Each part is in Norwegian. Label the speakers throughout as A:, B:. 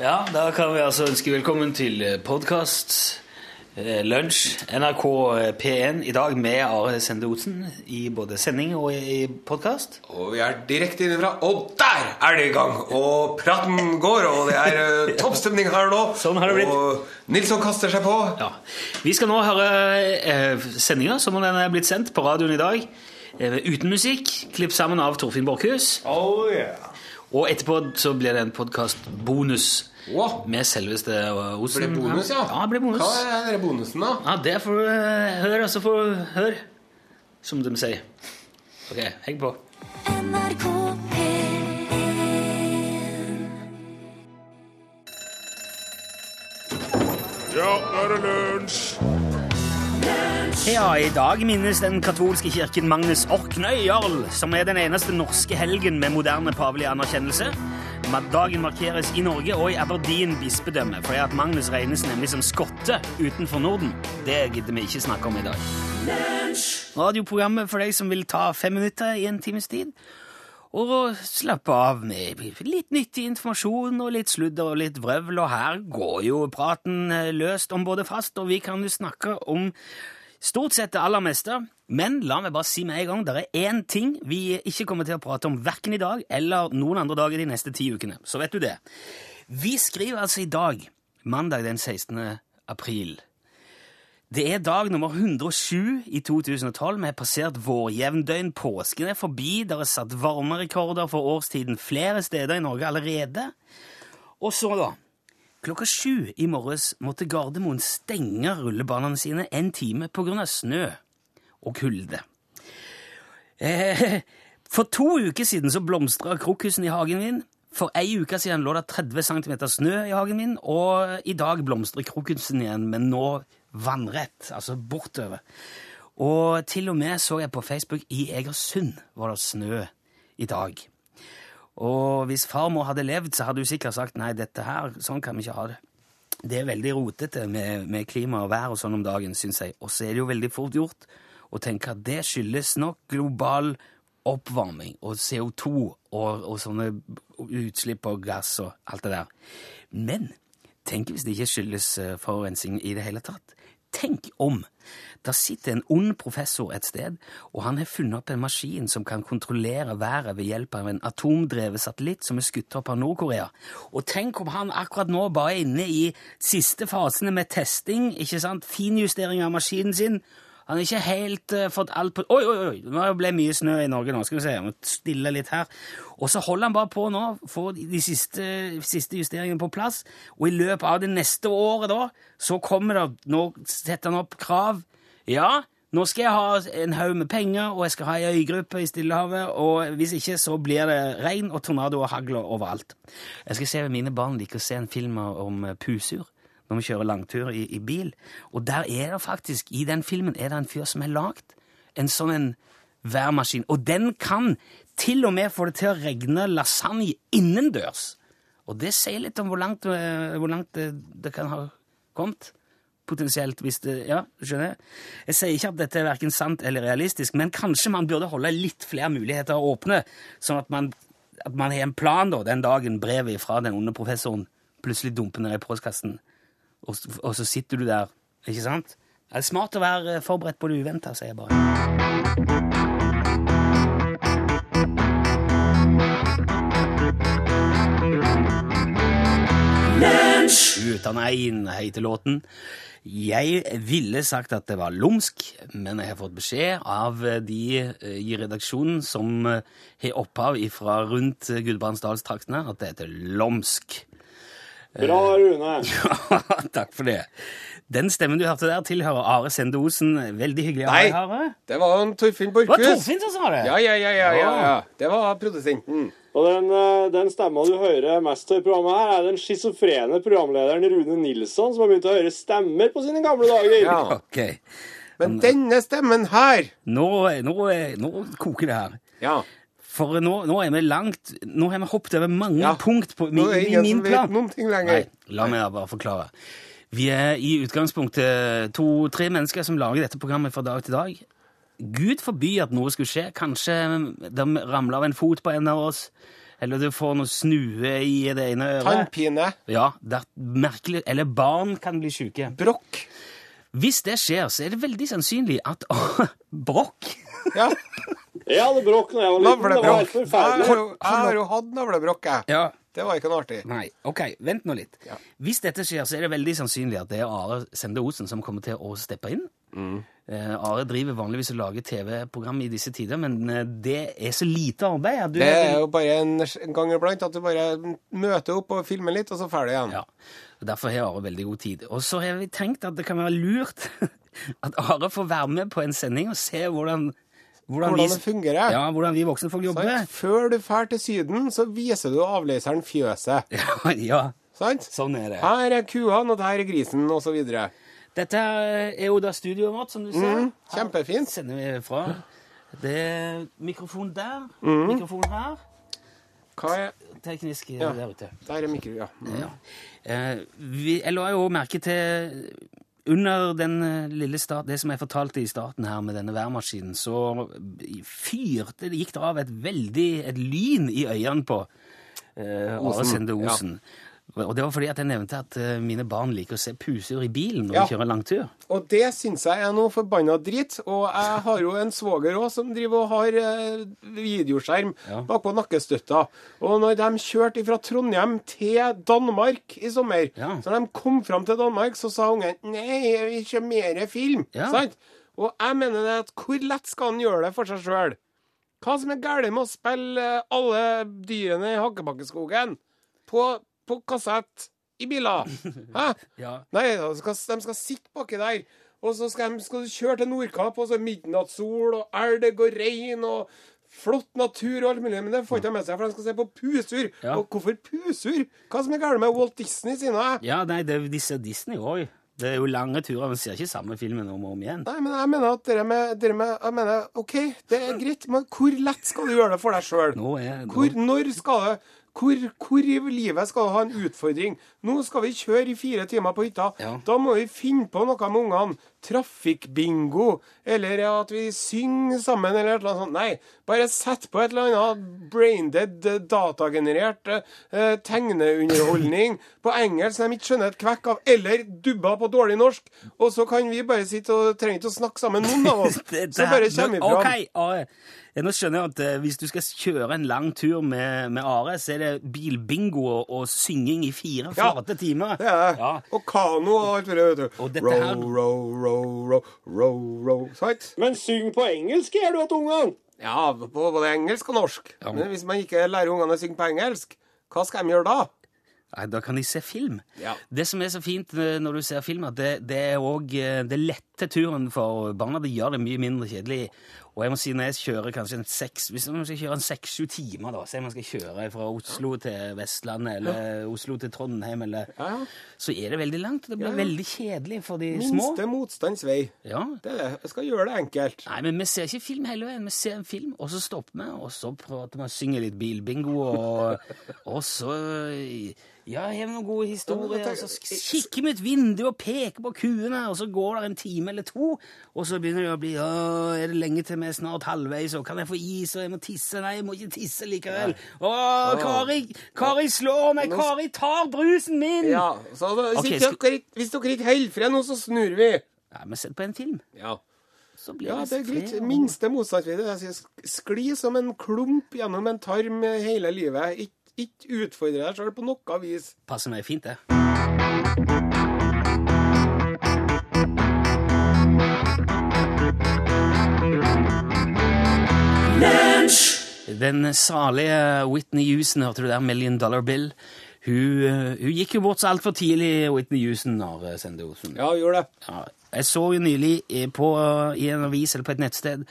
A: Ja, da kan vi altså ønske velkommen til podkast Lunsj NRK eh, P1 i dag med Are Sende Osen i både sending og i podkast.
B: Og vi er direkte innenfra, og der er det i gang! Og praten går, og det er eh, toppstemning her nå.
A: Sånn har det blitt.
B: Og Nilsson kaster seg på.
A: Ja. Vi skal nå høre eh, sendinga som om den er blitt sendt på radioen i dag. Eh, uten musikk, klipp sammen av Torfinn Borchhus.
B: Oh, yeah.
A: Og etterpå så blir det en podkastbonus
B: Wow.
A: med selveste eh, Osen.
B: Ble det bonus, ja?
A: Ja, det blir bonus.
B: Hva er den bonusen, da?
A: Ja, det får du eh, høre, altså får du høre, som de sier. Ok, heng på.
C: NRK P1
D: Ja, nå er det lunsj!
A: Ja, I dag minnes den katolske kirken Magnus Orknøy Jarl, som er den eneste norske helgen med moderne pavelig anerkjennelse. med at Dagen markeres i Norge og i Aberdeen bispedømme, fordi at Magnus regnes nemlig som skotte utenfor Norden. Det gidder vi ikke snakke om i dag. Radioprogrammet for deg som vil ta fem minutter i en times tid. Og slappe av med litt nyttig informasjon og litt sludder og litt vrøvl, og her går jo praten eh, løst om både fast, og vi kan jo snakke om Stort sett det aller meste, men la meg bare si med en gang, det er én ting vi ikke kommer til å prate om verken i dag eller noen andre dager de neste ti ukene. Så vet du det. Vi skriver altså i dag, mandag den 16. april. Det er dag nummer 107 i 2012. Vi har passert vårjevndøgn. Påsken er forbi. Det er satt varmerekorder for årstiden flere steder i Norge allerede. Og så, da. Klokka sju i morges måtte Gardermoen stenge rullebanene sine en time pga. snø og kulde. Eh, for to uker siden så blomstra krokusen i hagen min. For ei uke siden lå det 30 cm snø i hagen min, og i dag blomstrer krokusen igjen, men nå vannrett, altså bortover. Og til og med så jeg på Facebook i Egersund var det snø i dag. Og hvis farmor hadde levd, så hadde hun sikkert sagt nei, dette her, sånn kan vi ikke ha det. Det er veldig rotete med, med klima og vær og sånn om dagen, syns jeg. Og så er det jo veldig fort gjort å tenke at det skyldes nok global oppvarming og CO2 og, og sånne utslipp og gass og alt det der. Men tenk hvis det ikke skyldes eh, forurensning i det hele tatt. Tenk om! Der sitter en ond professor et sted, og han har funnet opp en maskin som kan kontrollere været ved hjelp av en atomdrevet satellitt som er skutt opp av Nord-Korea. Og tenk om han akkurat nå bare er inne i siste fasene med testing, ikke sant? finjustering av maskinen sin. Han har ikke helt eh, fått alt på Oi, oi, oi! Nå ble det mye snø i Norge nå. Skal vi se, jeg må stille litt her. Og så holder han bare på nå, får de siste, siste justeringene på plass. Og i løpet av det neste året, da, så kommer det Nå setter han opp krav. Ja, nå skal jeg ha en haug med penger, og jeg skal ha ei øygruppe i Stillehavet, og hvis ikke så blir det regn og tornado og hagl overalt. Jeg skal se mine barn liker å se en film om eh, pusur når vi kjører langtur i, i bil, og der er det faktisk, i den filmen, er det en fyr som har lagd en sånn en værmaskin, og den kan til og med få det til å regne lasagne innendørs. Og det sier litt om hvor langt, eh, hvor langt det, det kan ha kommet potensielt hvis det Ja, skjønner jeg. Jeg sier ikke at dette er verken sant eller realistisk, men kanskje man burde holde litt flere muligheter åpne, sånn at man, at man har en plan da, den dagen brevet fra den onde professoren plutselig dumper ned i postkassen, og, s- og så sitter du der, ikke sant? Det er smart å være eh, forberedt på det uventa, sier jeg bare. Uten ein heter låten. Jeg ville sagt at det var lumsk, men jeg har fått beskjed av de eh, i redaksjonen som eh, har opphav fra rundt eh, Gudbrandsdalstraktene, at det heter lomsk.
D: Bra, Rune!
A: Takk for det. Den stemmen du hørte der, tilhører Are Sende Osen. Veldig hyggelig. å ha
B: Nei.
A: deg, Are.
B: Det var en Torfinn
A: Det var
B: Borchhus.
A: Torfinn som sa det!
B: Ja, ja, ja, ja, ja, ja. Det var produsenten.
D: Og den, eh, den stemma du hører mest til i programmet her, er den schizofrene programlederen Rune Nilsson, som har begynt å høre stemmer på sine gamle dager.
B: Ja.
A: Ok.
B: Men denne stemmen her
A: Nå, nå, nå koker det her.
B: Ja.
A: For nå, nå er vi langt Nå har vi hoppet over mange
B: Ja.
A: punkt på,
B: Nå
A: i,
B: er det
A: i
B: ingen
A: min
B: som vet
A: plan.
B: noen ting
A: Nei,
B: lenger.
A: la meg bare forklare. Vi er i utgangspunktet to-tre mennesker som lager dette programmet fra dag til dag. Gud forby at noe skulle skje. Kanskje de ramler av en fot på en av oss. Eller du får noe snue i det ene øret.
C: Tannpine.
A: Ja, det er merkelig. Eller barn kan bli syke.
C: Brokk.
A: Hvis det skjer, så er det veldig sannsynlig at brokk
C: Ja.
D: Jeg hadde bråk da jeg var liten. Det var
C: Navlebrokk. Jeg
D: helt
C: har
D: forferdelig.
C: jo, jeg har jo hatt navlebrokk, jeg.
A: Ja.
C: Det var ikke noe artig.
A: Nei, ok, vent nå litt. Hvis dette skjer, så er det veldig sannsynlig at det er Are Sende Osen som kommer til å steppe inn.
C: Mm.
A: Eh, Are driver vanligvis og lager TV-program i disse tider, men eh, det er så lite arbeid. at Du,
C: Det er jo Eh, bare en en gang iblant at du bare møter opp og filmer litt, og så ferdig igjen.
A: Ja, og Derfor har Are veldig god tid. Og så har vi tenkt at det kan være lurt at Are får være med på en sending og se hvordan Hvordan,
C: Hvordan det fungerer.
A: Ja, hvordan vi voksne folk jobber.
C: Sant? Før du drar til Syden, så viser du avløseren fjøset.
A: Ja, ja,
C: Sant?
A: sånn er det.
C: Her er kuene, og der er grisen, osv.
A: Dette er jo da studioet vårt, som du ser.
C: Mm, Kjempefint.
A: sender vi fra. Det er mikrofon der,
C: Mm.
A: mikrofon her,
C: Hva er
A: teknisk eh,
C: Ja.
A: der ute.
C: Der er mikro... Ja. Mm.
A: Ja. Eh, vi, jeg la jo merke til under den eh, lille start, det som jeg fortalte i starten her med denne værmaskinen, så fyrte det gikk det av et veldig et lyn i øynene på eh, Are Sende Osen. Og det var fordi at jeg nevnte at eh, mine barn liker å se pusur i bilen når
C: Ja.
A: de kjører langtur.
C: Og det syns jeg er noe forbanna drit. Og jeg har jo en svoger òg som driver og har eh, videoskjerm
A: Ja.
C: bakpå nakkestøtta. Og når de kjørte fra Trondheim til Danmark i sommer,
A: Ja.
C: så når de kom fram til Danmark, så sa ungen Nei, jeg vil ikke mer film.
A: Ja.
C: Sant? Og jeg mener det at hvor lett skal han gjøre det for seg sjøl? Hva som er galt med å spille eh, alle dyrene i Hakkebakkeskogen på, på kassett i biler? Hæ?
A: Ja.
C: Nei, da skal, de skal sitte baki der. Og så skal, de, skal du kjøre til Nordkapp, og så er midnattssol og elg og rein og flott natur og alt mulig, men det får ikke de med seg, for de skal se på pusur.
A: Ja.
C: Og hvorfor pusur? Hva som er galt med Walt Disney sine?
A: Ja, nei, det, de ser Disney òg. Det er jo lange turer, men ser ikke samme filmen om og om igjen.
C: Nei, men jeg mener at dere med, dere med Jeg mener, OK, det er greit, men hvor lett skal du gjøre det for deg sjøl?
A: Nå er- nå-
C: Hvor, når skal det hvor, hvor i livet skal du ha en utfordring? Nå skal vi kjøre i fire timer på hytta.
A: Ja.
C: Da må vi finne på noe med ungene. Trafikkbingo, eller at vi synger sammen, eller et eller annet sånt. Nei, bare sett på et eller annet braindead, eh, datagenerert eh, tegneunderholdning på engelsk som de ikke skjønner et kvekk av, eller dubba på dårlig norsk. Og så kan vi bare sitte og trenger ikke å snakke sammen, noen av oss.
A: Det-
C: Så bare
A: det-
C: kommer vi fram.
A: Ok, Are. Ja, Nå skjønner jeg at eh, hvis du skal kjøre en lang tur med, med Are, så er det bilbingo og, og synging i fire
C: Ja,
A: flate timer.
C: Det er det.
A: Ja.
C: Og kano og alt mulig, vet du.
A: Og dette
C: Row,
A: her-
C: row, row, row, row, row. Sant?
D: Men syng på engelsk, gjør du at ungene?
C: Ja, på både engelsk og norsk. Men hvis man ikke lærer ungene å synge på engelsk, hva skal de gjøre da?
A: Nei, da kan de se film.
C: Ja.
A: Det som er så fint eh, når du ser film, at det, det er òg eh, Det letter turen for barna. Det gjør det mye mindre kjedelig. Og jeg må si, når jeg kjører kanskje en seks Hvis man skal kjøre en seks-sju timer, da, si man skal kjøre fra Oslo til Vestlandet, eller Oslo til Trondheim, eller
C: Ja, ja.
A: Så er det veldig langt, og det blir veldig kjedelig for de små.
C: Minste motstands vei.
A: Ja.
C: Det er det. Jeg skal gjøre det enkelt.
A: Nei, men vi ser ikke film hele veien. Vi ser en film, og så stopper vi, og så prater vi og synger litt bilbingo, og, og så Ja, har vi noen gode historier, og så kikker vi ut vinduet og peker på kuene, og så går det en time eller to, og så begynner det å bli Å, er det lenge til vi er snart halvveis, og kan jeg få is, og jeg må tisse? Nei, jeg må ikke tisse likevel. Å, Kari, Kari slår meg! Kari tar brusen min!
C: Ja, så da, hvis,
A: Ok,
C: ikke
A: skal-
C: dere, ikke- hvis dere ikke holder fred nå, så snur vi.
A: Nei, vi setter på en film,
C: Ja,
A: så blir
C: ja det er greit.
A: tre-
C: Minste motstands vei. Det er det jeg sier. Skli som en klump gjennom en tarm hele livet. Ikke ikke utfordre deg sjøl på noe vis.
A: passer meg fint, det. Den salige Whitney Houston, hørte du der, Million Dollar Bill. Hun, eh, hun gikk jo bort så altfor tidlig, Whitney Houston, når Sende Osen.
C: Ja, gjør det.
A: Ja, jeg så jo nylig eh, på, i en avis eller på et nettsted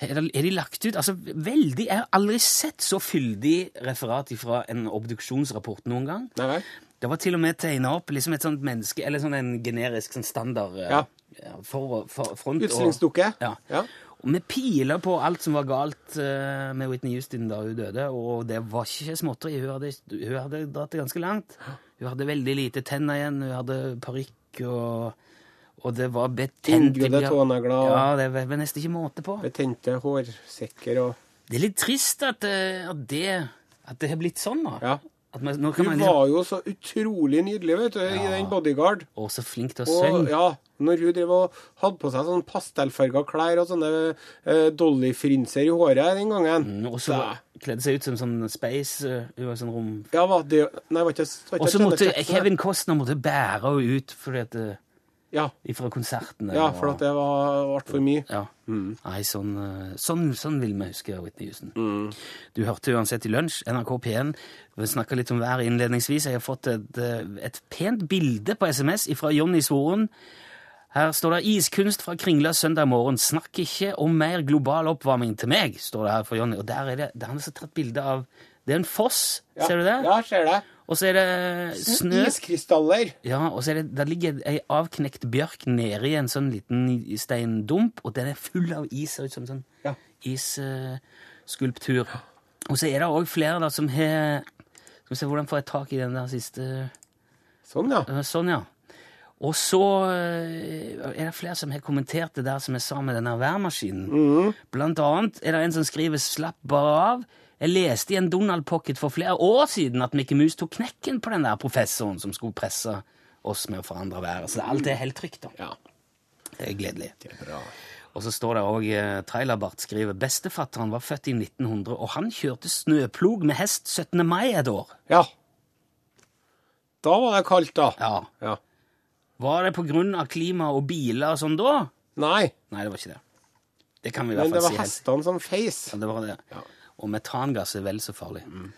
A: er det- er de lagt ut altså veldig, Jeg har aldri sett så fyldig referat fra en obduksjonsrapport noen gang.
C: Nei vel.
A: Det var til og med tegna opp liksom et sånt menneske, eller sånn en generisk sånn standard eh,
C: Ja.
A: ja, for, for front. og-
C: Utstillingsdukke.
A: Ja.
C: Ja.
A: Og med piler på alt som var galt eh, med Whitney Houston da hun døde, og det var ikke småtteri. Hun hadde, hun hadde dratt det ganske langt. Hun hadde veldig lite tenner igjen, hun hadde parykk og og det var betent i
C: Inngrodde
A: bjør-
C: tånegler og-
A: Ja, det var var nesten ikke måte på.
C: Betente hårsekker og
A: Det er litt trist at, eh, at det At det har blitt sånn nå?
C: Ja.
A: At man, nå
C: Du
A: kan man liksom,
C: var jo så utrolig nydelig, vet du, i den bodyguard.
A: Å, så flink til å
C: Og
A: synge.
C: ja, når hun drev og hadde på seg sånn pastellfarga klær og sånne eh, Dolly-frynser i håret den gangen
A: Mm, Og så
C: Da-
A: kledde seg ut som sånn space eh, Hun var sånn rom...
C: Ja, var det Nei, var ikke var ikke
A: Og så
C: Janet
A: måtte
C: Jackson,
A: Kevin Costner måtte bære henne ut fordi at, eh,
C: Ja,
A: ifra konsertene.
C: ja
A: og-
C: for at det var ble for mye.
A: Ja.
C: Mm.
A: Nei, sånn, eh, sånn, sånn vil vi huske Whitney Houston.
C: Mm.
A: Du hørte uansett i lunsj, NRK P1. Vi snakka litt om været innledningsvis. Jeg har fått et, eh, et pent bilde på SMS fra Jonny Svoren. Her står det 'Iskunst fra Kringla søndag morgen'. Snakk ikke om mer global oppvarming til meg, står det her for Jonny. Og der er det, det er han som har tatt bilde av Det er en foss,
C: Ja.
A: ser du det?
C: Ja, ser det.
A: Og så er det snø.
C: Iskrystaller.
A: Ja, og så er det, Der ligger ei avknekt bjørk nede i en sånn liten steindump, og den er full av is. Ser ut som sånn
C: Ja.
A: isskulptur. og så er det òg flere da, som har Skal vi se, hvordan får jeg tak i den der siste
C: Sånn, ja.
A: Eh, Sånn, ja. Og så eh, er det flere som har kommentert det der som jeg sa med denne værmaskinen. Blant annet er det en som skriver 'slapp bare av'. Jeg leste i en Donald Pocket for flere år siden at Mickey Mouse tok knekken på den der professoren som skulle presse oss med å forandre været. Så alt er helt trygt, da.
C: Ja.
A: Det er gledelig. Og så står det òg Trailerbart skriver 'Bestefatteren var født i 1900, og han kjørte snøplog med hest 17. mai et år'.
C: ja. Da var det kaldt, da.
A: Ja.
C: Ja.
A: Var det på grunn av klima og biler og sånn da?
C: Nei,
A: Nei, det var ikke det. Det kan vi i hvert
C: men det
A: fall
C: var
A: si. helt.
C: hestene som feis.
A: Ja, det var det. Og metangass er vel så farlig.
C: Mm.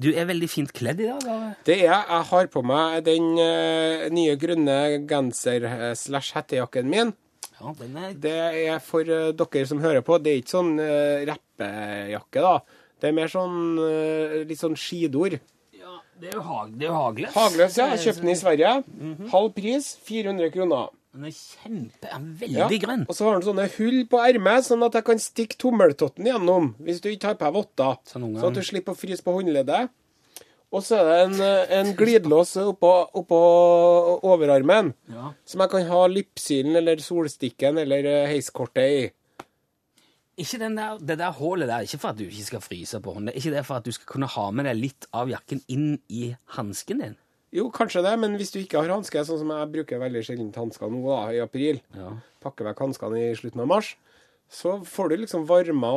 A: Du er veldig fint kledd i dag. Are.
C: Det er Jeg har på meg den eh, nye grønne genser-slash-hettejakken min.
A: Ja, den er...
C: Det er for eh, dere som hører på, det er ikke sånn uh, rappejakke, da. Det er mer sånn eh, litt sånn skidor.
A: ja, det er jo hag... det er jo hagløs.
C: Hagløs, ja. Kjøpt den i Sverige. Halv pris, 400 kroner.
A: Den er kjempe... Den er
C: Ja.
A: veldig grønn.
C: Og så har den sånne hull på ermet, sånn at jeg kan stikke tommeltotten gjennom hvis du ikke har på deg votter.
A: Sånn noen
C: Sånn at
A: gang.
C: du slipper å fryse på håndleddet. Og så er det en, eh, en glidelås oppå, oppå overarmen
A: Ja.
C: som jeg kan ha lypsylen eller solstikken eller eh, heiskortet i.
A: Ikke den der, det der hålet der, ikke for at du ikke skal fryse på hånda, ikke det for at du skal kunne ha med deg litt av jakken inn i hansken din.
C: Jo, kanskje det, men hvis du ikke har hansker, sånn som jeg bruker veldig sjelden hansker nå da, i april,
A: Ja.
C: pakker vekk hanskene i slutten av mars, så får du liksom varma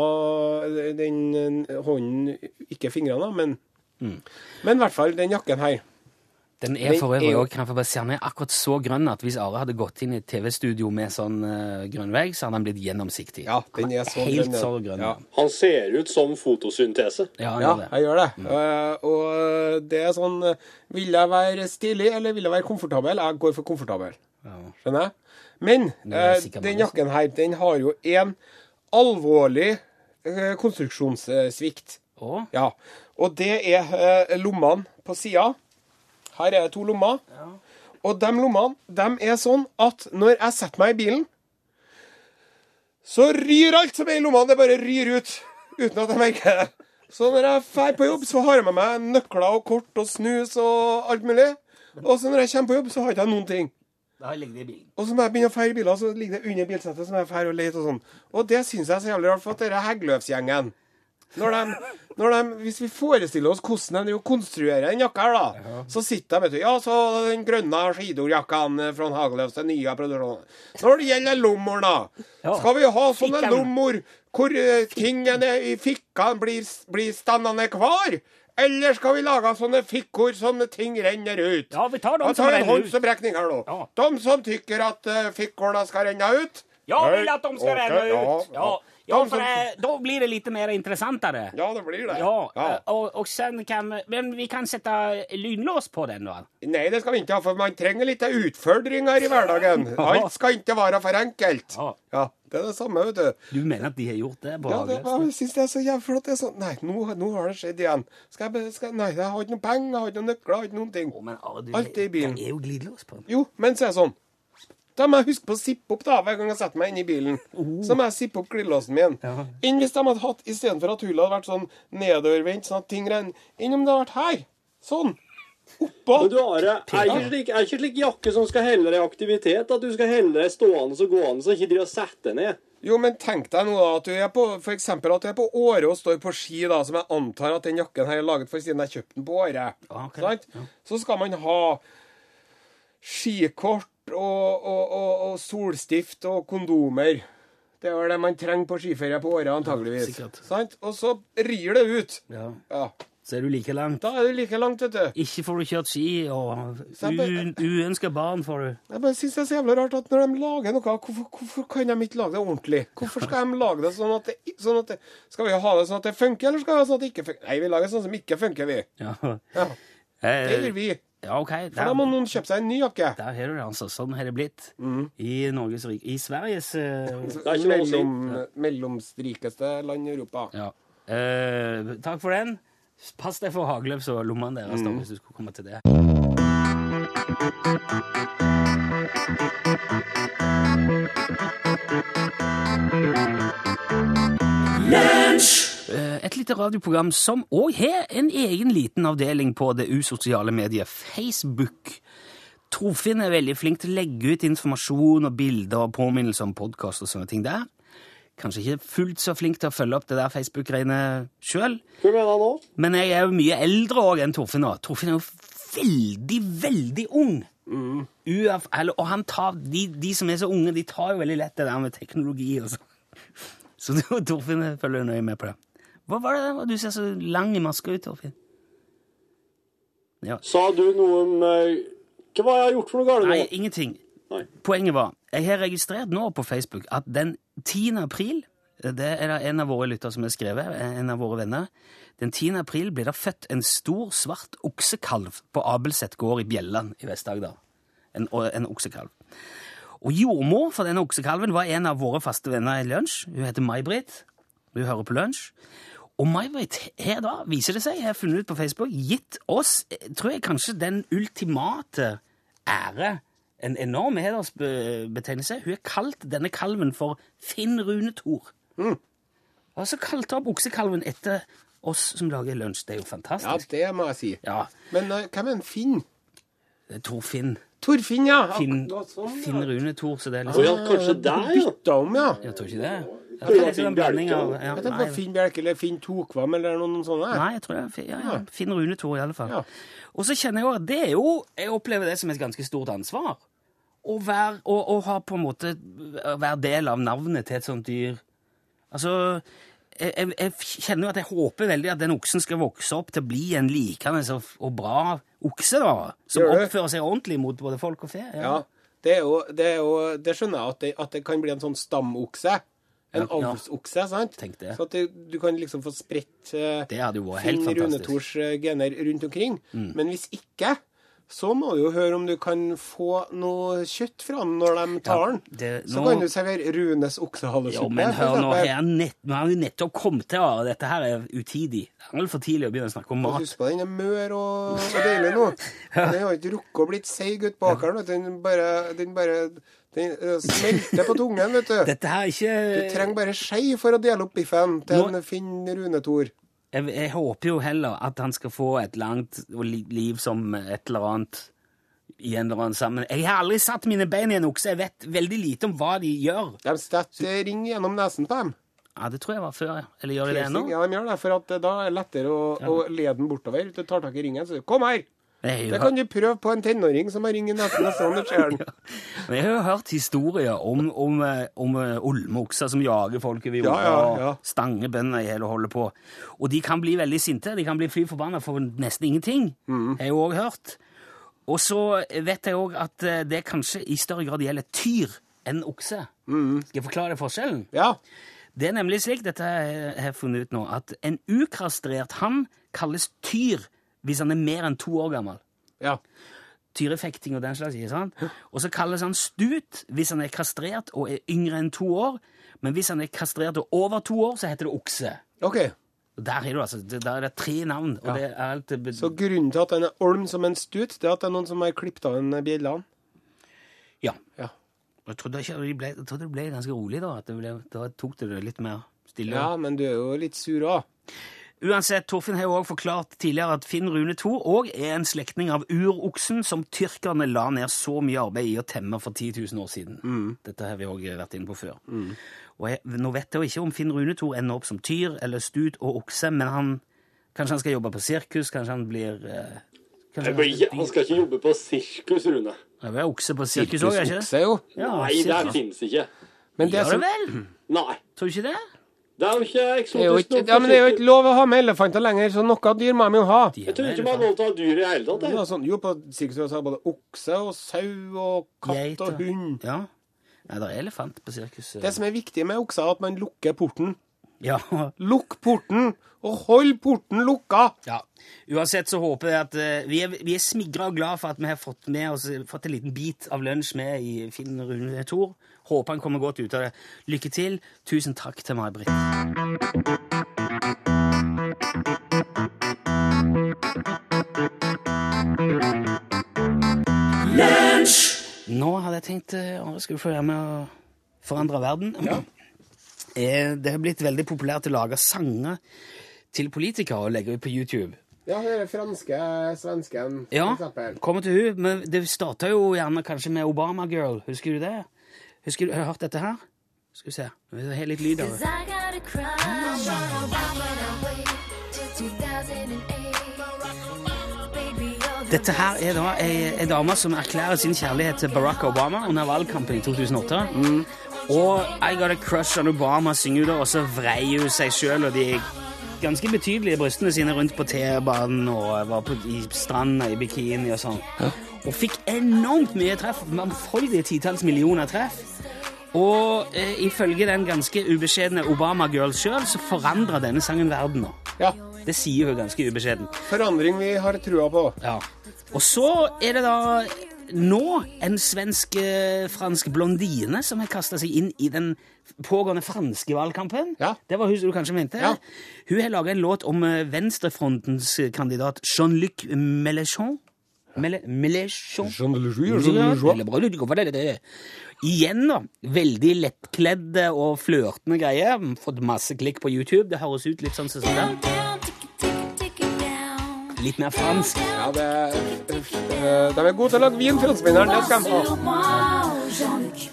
C: den eh, hånden, ikke fingrene, da, men
A: Mm.
C: Men i hvert fall den jakken her.
A: Den er
C: Den
A: for
C: er
A: øvrig
C: jo-
A: også, kan jeg få bare si, den er akkurat så grønn at hvis Are hadde gått inn i et TV-studio med sånn eh, grønn vegg, så hadde han blitt gjennomsiktig.
C: Ja, den er så
A: Helt
C: grønn, ja.
A: så grønn.
C: Ja.
D: Han ser ut som fotosyntese.
A: Ja, han
C: Ja,
A: gjør det. Mm.
C: jeg gjør det. Eh, og det er sånn eh, Vil jeg være stilig, eller vil jeg være komfortabel? Jeg går for komfortabel. Skjønner jeg? Men
A: er
C: eh,
A: sikkert
C: den
A: mange
C: jakken her, den har jo en alvorlig eh, konstruksjonssvikt.
A: Å?
C: Ja. Og det er eh, lommene på sida. Her er det to lommer. Og de lommene de er sånn at når jeg setter meg i bilen, så ryr alt som er i lommene. Det bare ryr ut uten at jeg merker det. Så når jeg drar på jobb, så har jeg med meg nøkler og kort og snus og alt mulig. Og så når jeg kommer på jobb, så har jeg ikke noen ting.
A: Da ligger det i bilen.
C: Og så må jeg begynne å feire biler, så ligger det under bilsettet. Så må jeg feire og lete og sånn. Og det syns jeg er så jævlig rart, for at dette Heggeløvs-gjengen når de, når de, Hvis vi forestiller oss hvordan de driver og konstruerer den jakka her, da, så sitter de vet du, Ja, så den grønne skidorjakkaen fra Hageløvs, den nye produksjonen. Når det gjelder lommer, da,
A: Ja.
C: skal vi ha sånne
A: Fikken.
C: lommer hvor eh, tingene i fikkene blir, blir standende hver? Eller skal vi lage sånne fikkor som ting renner ut?
A: Ja, vi tar dem
C: Ja,
A: som
C: en
A: renner
C: hånd
A: ut.
C: som brekning her nå.
A: Ja.
C: De som tykker at uh, fikkhåla skal renne ut.
A: Ja,
C: Nei,
A: vil at de skal
C: ok,
A: renne ut. Ja,
C: Ja,
A: ja
C: De
A: for
C: som-
A: eh, da blir det litt mer interessantere.
C: ja, det blir det.
A: Ja,
C: Ja.
A: eh, Og, og sen kan Men vi kan sette lynlås på den, da.
C: Nei, det skal vi ikke ha, for man trenger litt utfordringer i hverdagen. Alt skal ikke være for enkelt.
A: Ja.
C: Ja, det er det samme, vet du.
A: Du mener at de har gjort det? på
C: Ja, det,
A: Hageløs?
C: jeg syns det er så jævlig flott. Det er sånn Nei, nå, nå har det skjedd igjen. Skal jeg, be- skal, nei, jeg har ikke noen penger, jeg har ikke noen nøkler, jeg har ikke noen ting.
A: Å, men Are, du,
C: Alt er i bilen.
A: Det er jo glidelås på den.
C: Jo, men så er det sånn. Da må jeg huske på å sippe opp da, hver gang jeg setter meg inn i bilen. Så må jeg sippe opp glidelåsen min.
A: Ja.
C: Inn hvis de hadde hatt, istedenfor at hullet hadde vært sånn nedovervendt, sånn at ting renner. Inn om det hadde vært her. Sånn. Oppå.
D: Men du, Are, er ikke slik, er ikke slik jakke som skal helle deg i aktivitet, at du skal helle deg stående og gående, så ikke driver og setter deg ned.
C: Jo, men tenk deg nå da at du er på for eksempel at du er på Åre og står på ski, da, som jeg antar at den jakken her er laget for siden jeg kjøpte den på Åre.
A: Ah, ok.
C: Sant? Så skal man ha skikort og, og, og, og solstift og kondomer. Det er vel det man trenger på skiferie på Åre, antageligvis.
A: sikkert.
C: Sant? Og så rir det ut.
A: Ja.
C: Ja.
A: Så er du like langt.
C: Da er du like langt, vet du.
A: Ikke får du kjørt ski, og
C: Så jeg
A: uønska barn får du.
C: Jeg bare synes det er så jævlig rart at når de lager noe, hvorfor, hvorfor kan de ikke lage det ordentlig? Hvorfor skal de lage det sånn at det, sånn at det Skal vi ha det sånn at det funker, eller skal vi ha sånn at det ikke funker? Nei, vi lager sånn som ikke funker, vi.
A: Ja.
C: Ja, det
A: Eh,
C: gjør vi.
A: ja, OK.
C: Da
A: Der,
C: må noen Mm. kjøpe seg en ny jakke.
A: der har du det, altså. Sånn har det blitt i Norges rike. I Sveriges eh,
D: er ikke noe å si.
C: Mellom, mellomstrikeste land i Europa.
A: Ja. Eh, takk for den. Pass deg for hagløps og lommene deres da, hvis du skulle komme til det. Eh, Et lite radioprogram som òg har en egen liten avdeling på det usosiale mediet Facebook. Torfinn er veldig flink til å legge ut informasjon og bilder og påminnelser om podkast og sånne ting der kanskje ikke fullt så flink til å følge opp det der Facebook-greiene sjøl.
D: Hva mener han nå?
A: Men jeg er jo mye eldre òg enn Torfinn. nå. Torfinn er jo veldig, veldig ung. Uaf, eller, og han tar, de, de som er så unge, de tar jo veldig lett det der med teknologi og sånn. Så det er jo Torfinn jeg følger nøye med på det. Hva var det der? Du ser så lang i maska ut, Torfinn. Ja.
D: Sa du noe om eh, Hva har jeg gjort for noe galt nå?
A: Nei, ingenting.
D: Nei.
A: Poenget var, jeg har registrert nå på Facebook at den 10. april, det er det en av våre lytter som har skrevet, en av våre venner, den 10. april blir det født en stor svart oksekalv på Abelset gård i Bjelland i Vest-Agder. En, en oksekalv. Og jordmor for denne oksekalven var en av våre faste venner i lunsj. Hun heter May-Britt. Hun hører på lunsj. Og May-Britt her da, viser det seg, jeg har funnet ut på Facebook, gitt oss, eh, tror jeg kanskje den ultimate ære, en enorm hedersbetegnelse. Hun har kalt denne kalven for Finn Rune Thor. Og så kalte hun opp oksekalven etter oss som lager lunsj. Det er jo
C: Ja,
A: fantastisk.
C: det må jeg si.
A: Ja,
C: Men eh, hvem er en Finn?
A: det er Thor Finn.
C: Torfinn, ja.
A: Finn,
C: Akkurat sånn,
A: Finn
C: ja.
A: Rune Thor, så det er
D: Å
A: liksom
D: ja, kanskje der, ja.
C: Bytta om, ja.
A: Jeg tror ikke det. Jeg
D: det
A: tror
D: var
A: det er en
D: Finn
A: blanding
D: Bjelke,
A: av
D: da.
A: ja,
C: Jeg tenker
A: nei.
C: på Finn Bjelke eller Finn Tokvam eller noen sånne.
A: Nei, jeg tror det er Finn, ja, ja. Finn Rune Thor, i alle fall.
C: Ja.
A: Og så kjenner jeg jo at det er jo Jeg opplever det som et ganske stort ansvar. Å være å, å ha på en måte å være del av navnet til et sånt dyr. Altså jeg, jeg, jeg kjenner jo at jeg håper veldig at den oksen skal vokse opp til å bli en likende og, og bra okse, da. Som
C: Gjør det.
A: oppfører seg ordentlig mot både folk og fe.
C: Ja, det, er jo, det, er jo, det skjønner jeg at det, at det kan bli en sånn stamokse. En
A: Ja, ja.
C: avlsokse, sant?
A: Tenk det.
C: Så at du, du kan liksom få spredt eh,
A: Det hadde jo vært
C: Finn
A: helt
C: Rune
A: fantastisk. Mm.
C: Thors eh, gener rundt omkring. Men hvis ikke, så må du jo høre om du kan få noe kjøtt fra den når de tar
A: Ja,
C: den.
A: det-
C: Så
A: nå-
C: kan du servere Runes oksehalesuppe.
A: Jo, men
C: for
A: hør nå,
C: eksempel.
A: her, nett, nå har vi nettopp kommet til og dette her er utidig. Det er vel for tidlig å begynne å snakke om mat.
C: Husk på, den er mør og, og deilig nå. Den har ikke rukket å blitt seig ut på akeren. vet du. Den bare, den bare den eh, smelter på tungen, vet du.
A: Dette her er
C: Du
A: ikke
C: trenger bare skei for å dele opp biffen til
A: Eh, Nå-
C: en Finn Rune Thor.
A: jeg, jeg håper jo heller at han skal få et langt og li- liv som et eller annet i en eller annen sammen. Jeg har aldri satt mine bein i en okse. Jeg vet veldig lite om hva de gjør.
C: De stetter ring gjennom nesen på dem.
A: Ja, Det tror jeg var før. ja. Eller gjør de det ennå?
C: Ja, de gjør det, for at eh, da er det lettere å, å lede den bortover. Du tar tak i ringen, så sier du, 'kom her'.
A: Jeg har jo
C: Det
A: hørt-
C: kan du prøve på en tenåring som har ring i nesen. og sånn det skjer den.
A: Men jeg har jo hørt historier om, om, eh, om eh, olmeokser som jager folk over jorda,
C: Ja, ja, ja.
A: og stanger bønder i hele og holder på. Og de kan bli veldig sinte. De kan bli fly forbanna for nesten ingenting.
C: Mm.
A: Har jeg jo òg hørt. Og så vet jeg òg at eh, det kanskje i større grad gjelder tyr enn okse.
C: Mm.
A: Skal jeg forklare deg forskjellen?
C: Ja.
A: Det er nemlig slik, dette har jeg- jeg har funnet ut nå, at en ukastrert hann kalles tyr hvis han er mer enn to år gammel
C: ja.
A: tyrefekting og den slags. ikke sant? Og så kalles han stut hvis han er kastrert og er yngre enn to år. Men hvis han er kastrert og over to år, så heter det okse.
C: OK.
A: Og Der er, du, altså, det, der er det tre navn. og det er alt... det be-
C: Så grunnen til at den er olm som en stut, det er at det er noen som har klippet av en bjellene.
A: Ja.
C: Ja.
A: Jeg trodde, ikke, de ble, jeg trodde det ble ganske rolig da. at det ble, Da tok det det litt mer stille.
C: ja, men du er jo litt sur òg.
A: Uansett, Torfinn har jo også forklart tidligere at Finn Rune 2 òg er en slektning av uroksen som tyrkerne la ned så mye arbeid i å temme for 10 000 år siden.
D: Mm.
A: Dette har vi òg vært inne på før. Og jeg, Nå vet jeg jo ikke om Finn Rune 2 ender opp som tyr eller stut og okse, men han, kanskje han skal jobbe på sirkus, kanskje han blir eh, kanskje
D: Jeg
A: han
D: bare, ja,
A: blir-
D: Han skal ikke jobbe på sirkus, Rune.
A: Ja, vi er okse på sirkus òg, er ikke det?
C: Sirkusokse, jo.
A: Ja,
D: Nei, det her
A: sirkus.
D: finnes ikke.
C: Men det
A: Gjør det
C: som
A: vel?
D: Nei.
A: Tror du ikke det?
D: Det er jo ikke eksotisk
C: det er jo ikke,
D: nok
C: ja,
D: for
C: men det er jo
D: sirkus.
C: ikke lov å ha med elefanter lenger, så noe dyr må de jo ha.
D: Jeg tror ikke man har lov til å ha dyr i hele tatt.
C: Det
D: jeg.
C: var sånn, jo, på sirkushuset har både okse og sau og katt og hund.
A: Ja. Nei, det er elefant på eh. sirkuset.
C: Det som er viktig med okse, er at man lukker porten.
A: Ja.
C: Lukk porten, og hold porten lukka!
A: ja. Uansett så håper jeg at eh, vi er, vi er smigra og glad for at vi har fått med oss fått en liten bit av lunsj med i Finn Rune Thor. Håper han kommer godt ut av det. Lykke til. Tusen takk til May-Britt. Nå hadde jeg tenkt eh, å skal vi få være med å forandre verden. Eh, Det har blitt veldig populært å lage sanger til politikere og legge ut på YouTube.
C: Ja, den franske svensken,
A: Ja, kommer til hun, men det starta jo gjerne kanskje med Obama-girl. Husker du det? Husker du, Har du hørt dette her? Skal vi se. Vi har litt lyd av det.
E: I got a crush on Obama. Till 2008. Baby, you're the
A: Dette her er da ei, ei dame som erklærer sin kjærlighet til Barack Obama under valgkampen i 2008. Mm. Og I Got A Crush on Obama synger hun da, og så vrei hun seg sjøl og de ganske betydelige brystene sine rundt på T-banen og var på i stranda i bikini og sånn. Og fikk enormt mye treff, mangfoldige titalls millioner treff. Og eh, ifølge den ganske ubeskjedne Obama-girl sjøl så forandra denne sangen verden nå.
C: Ja,
A: Det sier hun ganske ubeskjedent.
C: forandring vi har trua på.
A: Ja. Og så er det da nå en svensk-fransk blondine som har kasta seg inn i den pågående franske valgkampen.
C: Ja.
A: Det var hun som du kanskje mente?
C: Ja.
A: Hun har laga en låt om eh, venstrefrontens eh, kandidat Jean-Luc Mélenchon. Mele- Mélenchon. Eller bra, du, du kan få det, det, det. Igjen, da. Veldig lettkledde og flørtende greier. Fått masse klikk på YouTube. Det høres ut litt sånn som det.
E: down, down, tick, tick, tick, down.
A: Litt mer fransk.
C: Ja, det er, øh, de er gode til å lage vin, franskmennene. Det skal de ha.
E: Sur moi, Jean-Luc.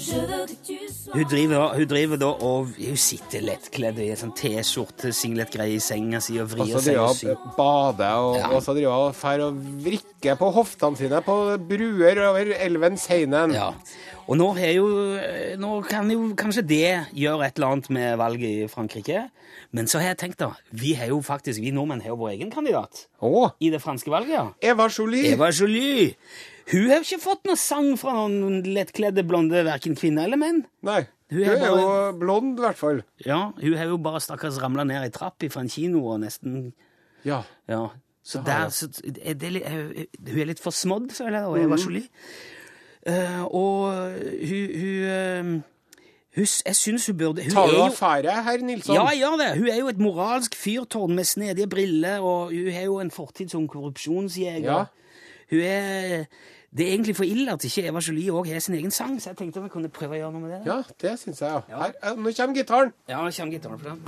E: Je veux que tu sois.
A: Hun driver, hun driver da og Hun sitter lettkledd i en sånn T-skjorte, singlet-greie i senga si og vrir
C: Altså
A: seg.
C: driver
A: og
C: og
A: synger.
C: bader, og,
A: Ja.
C: og så driver og fer og vrikker på hoftene sine på bruer over elven Seinen.
A: Ja. Og nå, har jo, eh, nå kan jo kanskje det gjøre et eller annet med valget i Frankrike. Men så har jeg tenkt, da Vi har jo faktisk, vi nordmenn har jo vår egen kandidat
C: Å,
A: i det franske valget. ja.
C: Eva Jolie!
A: Eva Jolie. Hun har jo ikke fått noen sang fra noen lettkledde blonde, verken kvinner eller menn.
C: Nei,
A: Hun
C: hun
A: er
C: er jo
A: bare-
C: blond, i hvert fall.
A: Ja, Hun har jo bare stakkars ramla ned ei trapp fra en kino og nesten
C: Ja.
A: Ja. Så der så, er det, litt- er, Hun er litt forsmådd, føler jeg, og Eva Jolie. Eh, og hun, hun, eh, hun s- Jeg syns hun burde hun
C: Tar
A: er
C: du sånn?
A: jo-
C: affære, herr Nilsson?
A: Ja, gjør det! Hun er jo et moralsk fyrtårn med snedige briller, og hun har jo en fortid som korrupsjonsjeger.
C: Ja.
A: Hun er Det er egentlig for ille at ikke Eva Jolie òg har sin egen sang, så jeg tenkte om jeg kunne prøve å gjøre noe med det. da.
C: Ja, det syns jeg, ja. Her, eh, nå kommer gitaren.
A: Ja, jeg kommer gitaren på den.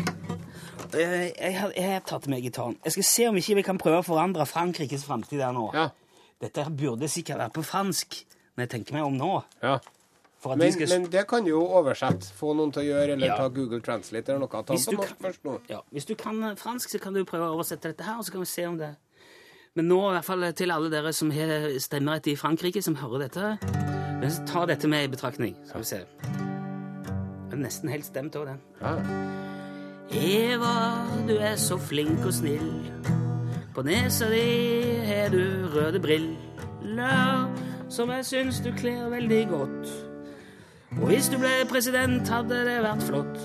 A: Eh, jeg, har- jeg har tatt med gitaren. Jeg skal se om ikke vi kan prøve å forandre Frankrikes framtid der nå.
C: Ja.
A: Dette her burde sikkert være på fransk, når jeg tenker meg om nå.
C: ja.
A: For at vi
C: Men,
A: skal...
C: men det kan du jo oversette. Få noen til å gjøre, eller
A: Ja.
C: ta Google Translate eller noe. Ta
A: Hvis
C: den
A: du
C: på
A: kan-
C: norsk først nå.
A: ja, hvis du kan eh, fransk, så kan du prøve å oversette dette her, og så kan vi se om det Men nå, i hvert fall eh, til alle dere som har stemmerett i Frankrike, som hører dette men så Ta dette med i betraktning, så skal vi se. Jeg er nesten helt stemt over den.
C: Ja.
A: Eva, du er så flink og snill. På nesa di har du røde briller, som jeg syns du kler veldig godt. Og hvis du ble president, hadde det vært flott.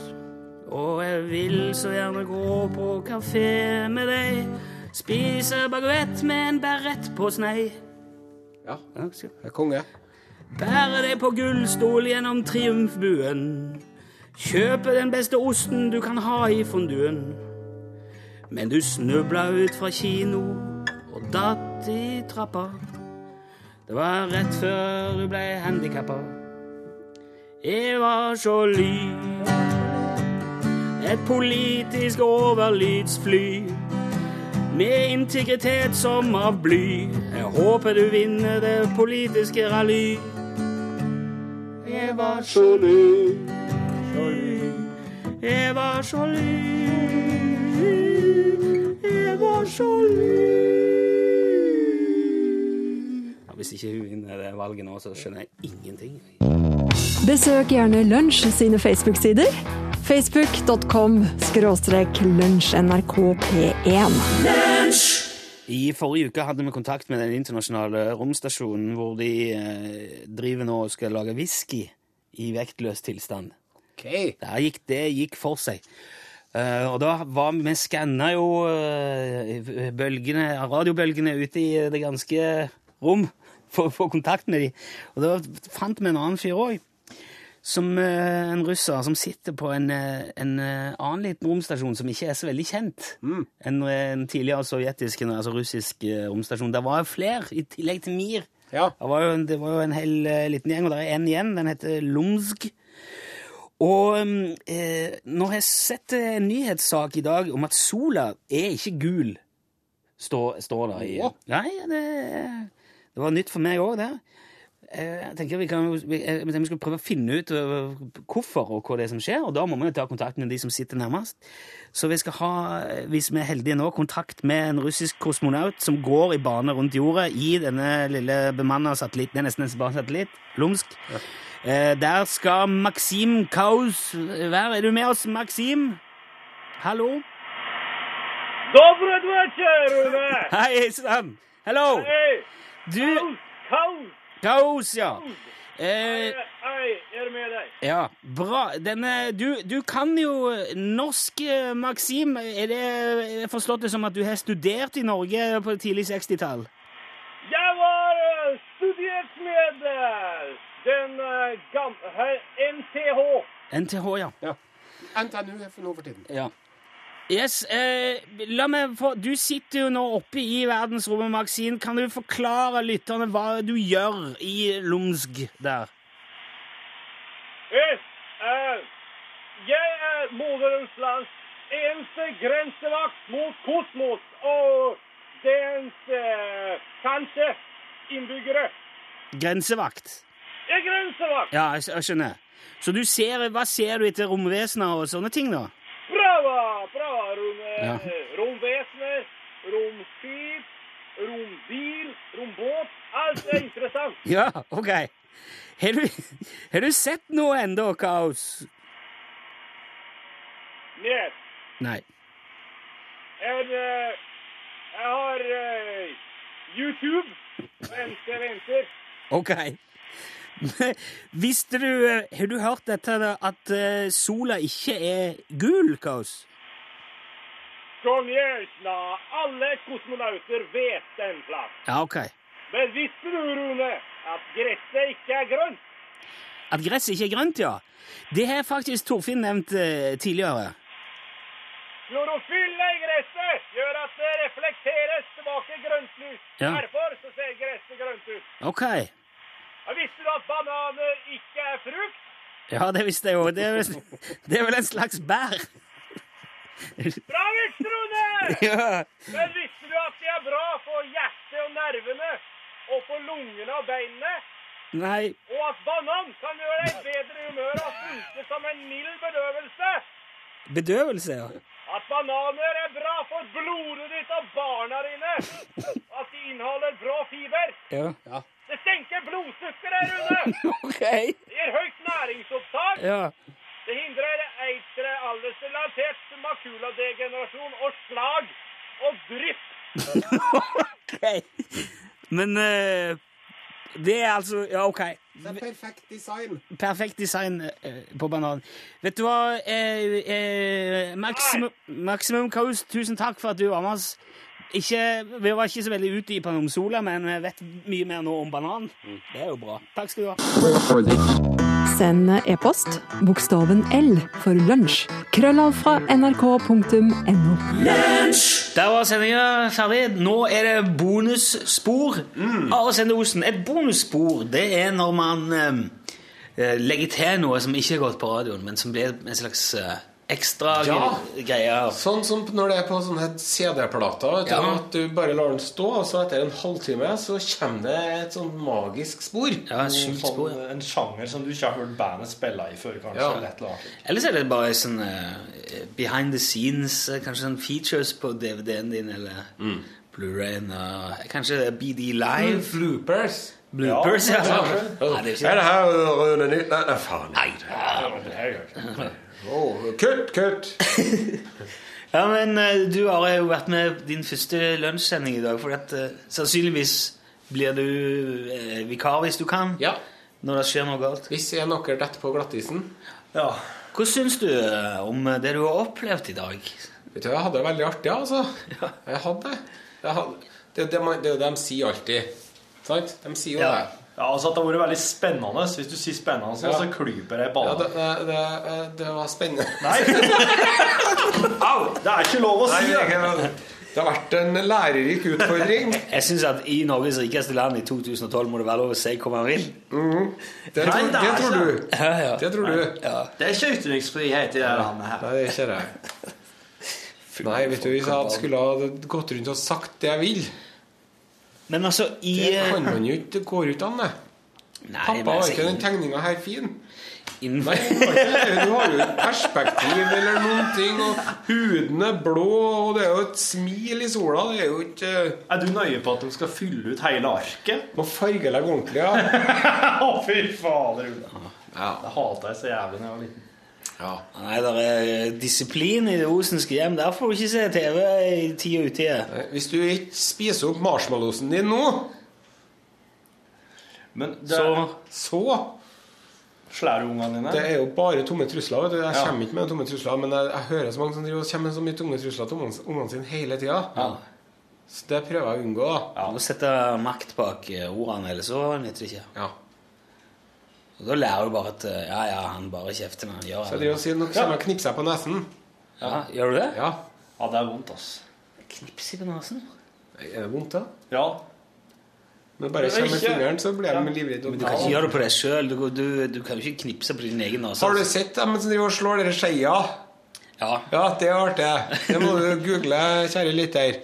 A: Og jeg vil så gjerne gå på kafé med deg, spise baguett med en berett på snei.
C: ja.
A: Ja, skal-
C: Det er konge.
A: Bære deg på gullstol gjennom triumfbuen. Kjøpe den beste osten du kan ha i fonduen. Men du snubla ut fra kino og datt i trappa. Det var rett før du ble handikappa. Eva Jolie. Et politisk overlydsfly med integritet som av bly. Jeg håper du vinner det politiske rally. Jeg var så
D: Sjalu.
A: Jeg var så sjalu. Jeg var sjalu. Ja, hvis ikke hun vinner det valget nå, så skjønner jeg ingenting.
F: Besøk gjerne Lunsj sine Facebook-sider. Facebook.com skråstrek lunsjnrkp1.
A: I forrige uke hadde vi kontakt med den internasjonale romstasjonen, hvor de eh, driver nå og skal lage whisky i vektløs tilstand.
C: OK.
A: Der gikk, det gikk for seg. Eh, og da var vi skanna jo eh, bølgene, radiobølgene ute i det ganske rom for å få kontakt med dem. Og da fant vi en annen fyr òg. Som eh, en russer som sitter på en, eh, en eh, annen liten romstasjon som ikke er så veldig kjent. En, eh, en tidligere sovjetisk, en- altså russisk eh, romstasjon. Der var jo flere, i tillegg til Mir.
C: Ja.
A: Det var jo en, det var jo en hel eh, liten gjeng, og der er en igjen. Den heter Lumsk. Og mm, eh, nå har jeg sett eh, en nyhetssak i dag om at sola er ikke gul, står, står det i
C: Åh.
A: Nei, det, det var nytt for meg òg, det. Eh, Jeg tenker vi, kan, jo- vi, eh, vi skulle prøve å finne ut eh, hvorfor og hva det er som skjer, og da må vi jo ta kontakt med de som sitter nærmest. Så vi skal ha, eh, hvis vi er heldige nå, kontakt med en russisk kosmonaut som går i bane rundt jorda i denne lille bemanna satellitt, det er nesten en bemannet satellitt, Lumsk. Eh, Der skal Maxim Kaus være. Er du med oss, Maxim? Hallo?
G: Добрый вечер, Уна!
A: Hei sann! Hallo!
G: Эй,
A: Du
G: хаус!
A: Kaus, ja. Eh,
G: Эй, er med deg.
A: Ja, bra. Denne, du, du kan jo norsk, eh, Maxim. Er det er det forstått det som at du har studert i Norge på tidlig 60-tall?
G: Jeg var eh, studert med eh, den eh, gam... her, NTH.
A: NTH, ja.
C: NTNU er for nå for tiden.
A: ja. Yes, eh, la meg få Du sitter jo nå oppe i verdensrommet, Maxim. Kan du forklare lytterne hva du gjør i Lumsk der?
G: Yes, eh, jeg er moderens lands eneste grensevakt mot kosmos og dens eh, kanskje innbyggere.
A: Grensevakt.
G: Jeg er grensevakt!
A: Ja, jeg, jeg skjønner. Så du ser, hva ser du etter romvesener og sånne ting, da?
G: Brava, brava, rom,
A: Ja.
G: ja. romvesener, romskip, rombil, rombåt. Alt er interessant.
A: Ja, ok. Har du, har du sett noe ennå, Kaos?
G: Yes.
A: Nei.
G: En, eh, jeg har eh, YouTube mens jeg venter.
A: Ok. Visste du eh, Har du hørt dette da, at eh, sola ikke er gul, Kaos?
G: Konjesna, alle kosmonauter vet den plass.
A: Ja, ok.
G: Men visste du, Rune, at gresset ikke er grønt?
A: At gresset ikke er grønt, ja. Det har faktisk Torfinn nevnt eh, tidligere.
G: Klorofyllet i gresset gjør at det reflekteres tilbake grønt lys.
A: Ja.
G: Derfor så ser gresset grønt ut.
A: Ok.
G: Og Visste du at bananer ikke er frukt?
A: Ja, det visste jeg jo. Det, er vel- det er vel en slags bær?
G: Bra visst, Rune!
A: Ja.
G: Men visste du at de er bra for hjertet og nervene? Og for lungene og beinene?
A: Nei.
G: Og at banan kan gjøre deg bedre i humør og funke som en mild bedøvelse?
A: Bedøvelse, ja.
G: At bananer er bra for blodet ditt og barna dine? At de inneholder brå fiber?
A: Ja.
G: Det senker blodsukkeret, Rune!
A: Ok.
G: Det gir høyt næringsopptak.
A: Ja.
G: Det hindrer eitre aldersrelatert makuladegenerasjon og slag og drypp.
A: Ok. Men eh, det er altså Ja, OK.
C: Det er perfekt design.
A: Perfekt design eh, på banan. Vet du hva, eh, eh, Maximum, Maximum Kaus, tusen takk for at du var med oss. Ikke, vi var ikke så veldig utdypende om sola, men vi vet mye mer nå om banan.
C: Mm.
A: Det er jo bra. Takk skal du ha.
F: Send e-post bokstaven L for lunsj. Krøllav fra nrk.no.
A: Der var sendinga ferdig. Nå er det bonusspor. Are Sende Osen, et bonusspor det er når man eh, eh, legger til noe som ikke har gått på radioen, men som blir en slags eh, ekstra
B: Ja.
A: greier.
C: Sånn som når det er på sånne CD-plater. vet du,
A: Ja.
C: At du bare lar den stå, og så etter en halvtime så kommer det et sånn magisk spor.
A: Ja, et skjult
H: Sånn,
A: spor. ja.
H: En sjanger som du ikke har hørt bandet spille i før, kanskje.
C: Ja.
H: Eller et eller annet.
A: Ellers er det bare sånn eh, behind the scenes, eh, kanskje sånn features på DVD-en din, eller Blu-rayen, og kanskje det er BD Live,
C: Mm. Bloopers.
A: bloopers, ja.
H: Ja,
A: Nei, det er ikke
C: Er
A: det.
C: det her øh, Rune Ny- Nei, nei, faen.
H: Ja, men det her gjør jeg ikke.
C: Åh, Kutt, kutt!
A: Ja, men eh, du Are, har jo vært med din første lunsjsending i dag, for at, eh, sannsynligvis blir du eh, vikar hvis du kan,
C: Ja.
A: når det skjer noe galt.
C: Hvis jeg nokker detter på glattisen
H: Ja.
A: Hva syns du eh, om eh, det du har opplevd i dag?
C: Vet du, jeg hadde det veldig artig, altså. Jeg hadde det. Jeg hadde. Det er jo det, man- det er jo det de sier alltid. Sant? De sier jo
A: Ja.
C: det.
H: ja, altså at det har vært veldig spennende. Hvis du sier spennende, så,
C: Ja.
H: så klyper jeg i
C: Ja, det,
H: banen.
C: det, det, det var spennende.
H: Nei! Au! Det er ikke lov å si det!
C: Det har vært en lærerik utfordring.
A: Jeg syns at i Norges rikeste land i 2012 må det være lov å si hva man vil.
C: Det
H: Nei,
C: tror,
H: det er
C: det
H: ikke.
C: tror du.
A: altså.
C: Det tror du.
H: Det er ikke ytringsfrihet i det landet her.
C: Nei, det er ikke det. Nei, vet du, hvis jeg hadde skulle ha gått rundt og sagt det jeg vil
A: Men altså, i
C: Det
A: eh,
C: kan man jo ikke. Det går jo ikke an, det.
A: Nei,
C: Pappa,
A: men
C: var
A: altså,
C: ikke den tegninga her fin?
A: inn-
C: Nei, du har ikke det. Du har jo ikke perspektiv eller noen ting, og huden er blå, og det er jo et smil i sola. Det er jo ikke
H: Er du nøye på at de skal fylle ut hele arket?
C: Må fargelegge ordentlig, ja.
H: Å, fy fader, Ulla.
C: Ja.
H: Det hata jeg så jævlig da jeg var liten.
C: ja.
A: Nei, det er eh, disiplin i det osenske hjem. Der får du ikke se TV i tid og utide.
C: Eh, Hvis du ikke spiser opp marshmallowsen din nå,
H: Men det
A: Så
C: så
H: slår du ungene dine?
C: Det er jo bare tomme trusler. vet du Jeg
H: Ja.
C: kommer ikke med tomme trusler, men jeg, jeg hører så mange som driver og kommer med så mye tomme trusler til ungene ungene sine hele tida. Så det prøver jeg å unngå. da.
A: du må sette makt bak eh, ordene, ellers så nytter det ikke.
C: Ja.
A: Og da lærer du bare at eh, ja, ja, han bare kjefter når han gjør
C: Så jeg
A: det.
C: driver og sier nå kommer jeg og knipser deg på nesen.
A: Ja, gjør du det?
C: Ja.
H: Ja, det er vondt, ass.
A: Knips i på nesen.
C: Er det vondt, da?
H: Ja.
C: Men bare
H: Det er
C: kommer med
H: ikke-
C: fingeren, så blir jeg livredd.
A: Du kan ikke gjøre det på deg sjøl. Du, du, du kan jo ikke knipse på din egen nese.
C: Har du sett dem som driver og slår dere skeia?
A: Ja.
C: Ja, det er artig. Det må du google, kjære lytter.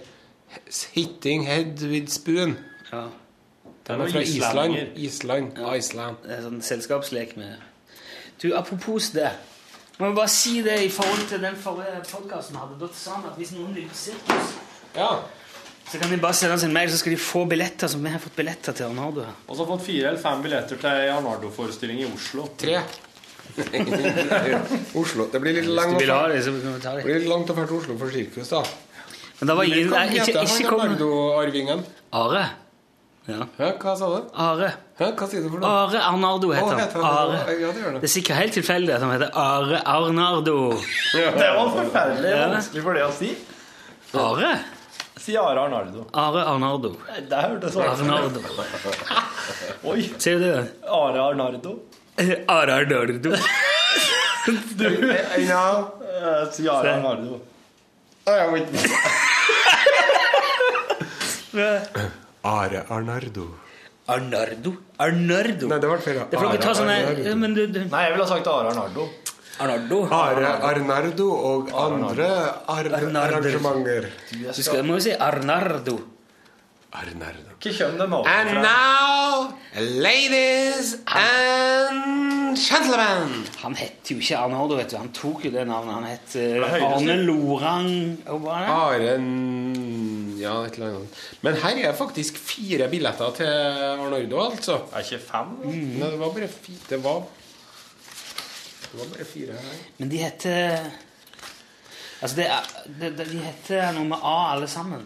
C: Hitting head with spoon.
A: ja.
H: Det er
C: Den er fra
H: noen
C: Island.
H: islendinger.
C: Island. Iceland.
A: Det er sånn selskapslek med Du, apropos det. Må jeg bare si det i forhold til den forrige podkasten hadde. Da sa han at hvis noen vil på sirkus
C: Ja.
A: Så kan de bare sende oss en mail, så skal de få billetter. som vi har fått billetter til Arnardo. her.
H: Og så har jeg fått fire eller fem billetter til ei Arnardo-forestilling i Oslo.
C: Tre. Oslo. Det blir litt
A: Hvis
C: langt
A: du vil
C: å
A: ha
C: fære-
A: det, så kan vi ta
C: det
A: det.
C: blir litt langt å dra til Oslo for sirkus, da.
A: Men det var ingen
C: Hva
A: nei, ikke,
C: heter
A: ikke
C: han
A: kom
C: Arnardo-arvingen?
A: Are. Ja.
C: Hæ, Hva sa du?
A: Are.
C: Hæ, Hva sier du for noe?
A: Are Arnardo
C: Å,
A: heter
C: heter
A: han.
C: han det?
A: Are.
C: Ja, det gjør han.
A: Det er sikkert helt tilfeldig at han heter Are Arnardo.
H: Det var forferdelig
A: Ja.
H: vanskelig for det å si.
A: Are?
H: Si Are Arnardo.
A: Are Arnardo.
H: Nei, Det hørtes sånn ut.
A: Arnardo.
H: Oi.
A: Ser du det?
H: Are Arnardo.
A: Are Arnardo.
C: I know.
H: Eh, Si Are Arnardo.
C: Are Arnardo.
A: Arnardo. Arnardo.
C: Nei, det ble feil.
A: Det får dere ta
C: Are
A: sånne
C: Arnardo.
A: ja, men du, du.
H: Nei, jeg ville ha sagt Are Arnardo.
A: Arnardo.
C: Are Arnardo og andre ar
A: Arnarder.
C: arrangementer.
A: Du skal, må jo si Arnardo.
C: Arnardo.
H: Hva kjønn de var
C: And
H: fra?
C: now, ladies and gentlemen
A: Han het jo ikke Arnardo, vet du. Han tok jo det navnet. Han het eh,
H: Det er høyre
A: Arne Lorang. og hva er det?
C: Aren Ja, et eller annet. Men her er faktisk fire billetter til Arnardo, altså.
H: Er ikke fem? da?
C: Nei, det var bare fire Det var det var bare fire her.
A: Men de heter Altså, det er, det, det, de heter noe med A, alle sammen.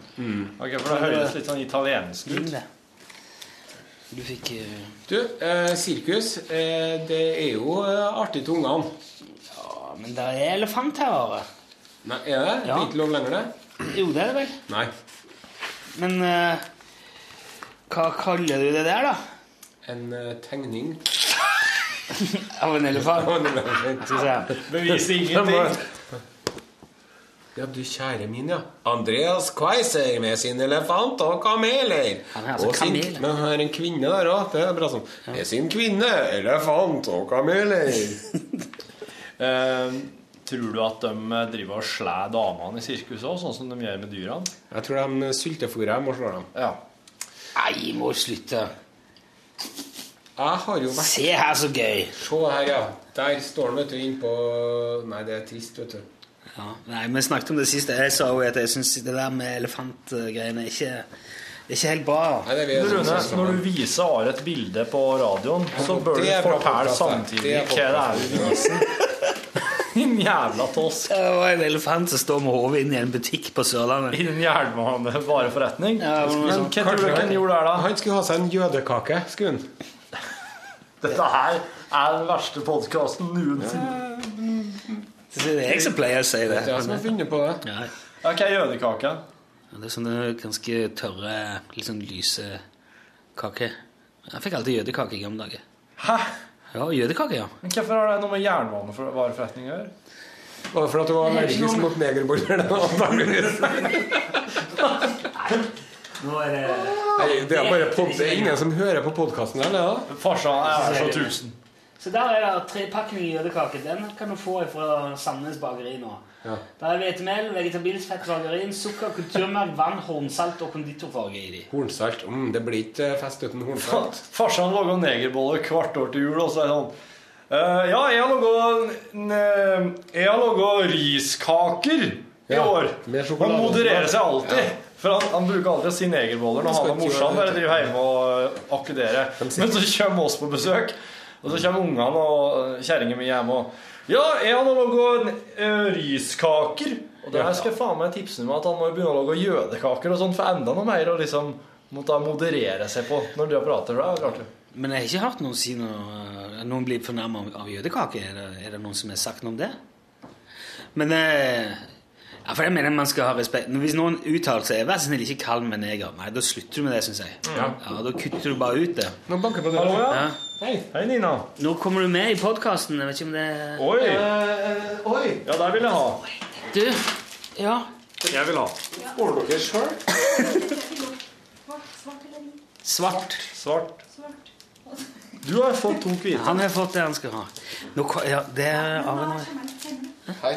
H: Ok, for det høres litt sånn italiensk
A: Ring
H: ut.
A: det. Du fikk eh,
C: Du, eh, sirkus, eh, det er jo eh, artig til ungene.
A: Ja, men det er elefant her, Are.
C: Nei, er det? Det
A: Ja.
C: er ikke lov lenger, det?
A: Jo, det er det vel.
C: Nei.
A: Men eh, hva kaller du det der, da?
C: En eh, tegning.
A: Av en elefant? Skal vi se.
H: Beviser ingenting.
C: Ja, du kjære min, ja. Andreas Quaiser med sin elefant og kameler.
A: Han er altså
C: Og sin,
A: kamel.
C: Men han er en kvinne der òg. Det er bra sånn. Med sin kvinne, elefant og kameler.
H: Eh,
I: Ehm, Tror du at de eh, driver og slår damene i sirkuset òg, sånn som de gjør med dyra?
B: Jeg tror de sultefôrer dem og slår dem.
I: Ja.
J: Nei, må slutte.
B: Jeg har jo vært
J: Se her, så gøy.
B: Se her, ja. Der står han, vet du, innpå Nei, det er trist, vet du.
A: Ja, nei, Vi snakket om det siste. Jeg sa jo at jeg syns det der med elefantgreiene er ikke, det er ikke helt bra.
I: Men Rune, når du viser Are et bilde på radioen, så bør du
A: sånn Det er bra
I: fortelle
A: podcast, det.
I: samtidig
A: Det er
I: hva det er du viser. Din jævla tosk.
A: Det var en elefant som står med hodet inn i en butikk på Sørlandet.
I: I den jævla vareforretning.
A: sånn
I: Men hva tror du han gjorde der, da?
B: Han skulle ha seg en jødekake, skulle han.
I: Dette her er den verste podkasten noensinne.
A: Det er jeg som pleier å si det.
I: Det er jeg som har funnet
B: på det.
A: Ja.
I: Ok, jødekake.
A: Ja, Det er sånne ganske tørre, litt sånn lyse kaker. Jeg fikk alltid jødekake i gamle dager.
I: Hæ?
A: Ja, jødekake, ja.
I: Men hvorfor har det noe med jernvareforretning å gjøre?
B: Var det for at du var allergisk mot negerboller? antageligvis?
A: Nå er det...
B: Nei, Det er bare pod... det er ingen som hører på podkasten der, det da?
I: Farsan
A: er så tusen. Så der er det trepakning jødekake. Den kan du få fra Sandnes bakeri nå.
B: Ja.
A: Der er hvetemel, vegetabilsk fett, margarin, sukker, kulturmelk, vann, hornsalt og konditorfarge i de.
B: Hornsalt. Mm, det blir ikke fest uten
I: Fa-
B: hornsalt.
I: Farsan laga negerboller hvert år til jul, og så er det sånn «Eh, Ja, jeg har laga en, eh, Jeg har laga riskaker i
B: Ja,
I: år.
B: med sjokolade.
I: Han modererer seg alltid.
B: Ja.
I: For han, han bruker alltid å si negerboller når
B: Det skal
I: han er
B: ikke
I: morsom
B: gjøre
I: bare
B: det.
I: driver hjemme og eh, akkuderer. Men så kommer oss på besøk, og så kommer ungene og eh, kjerringa mi hjem og Ja, jeg har laga en, eh, riskaker. Og det her skal jeg faen meg tipse om at han må jo begynne å lage jødekaker og sånn for enda noe mer å liksom måtte moderere seg på når de prater. For det er jo klart det.
A: Men jeg har ikke hørt noen si noe eh, Noen blir fornærma av jødekake. Er det, er det noen som har sagt noe om det? Men eh, ja, for jeg mener man skal ha respekt Hvis noen uttaler seg Vær så snill, ikke kall meg neger. Nei, da slutter du med det, syns jeg. Ja. Da kutter du bare ut det.
B: Nå banker på
I: Hallo, ja.
A: Ja.
B: Hei.
I: Hei, Nina.
A: Nå kommer du med i podkasten. Jeg vet ikke om det
I: Oi.
B: oi.
I: Ja, der vil jeg ha.
A: Du, ja.
I: Jeg vil ha.
B: Ordner dere sjøl?
A: Svart.
I: Svart. Du har fått to hvite.
A: Han har fått det han skal ha. Nå, ko- ja, det er Arne.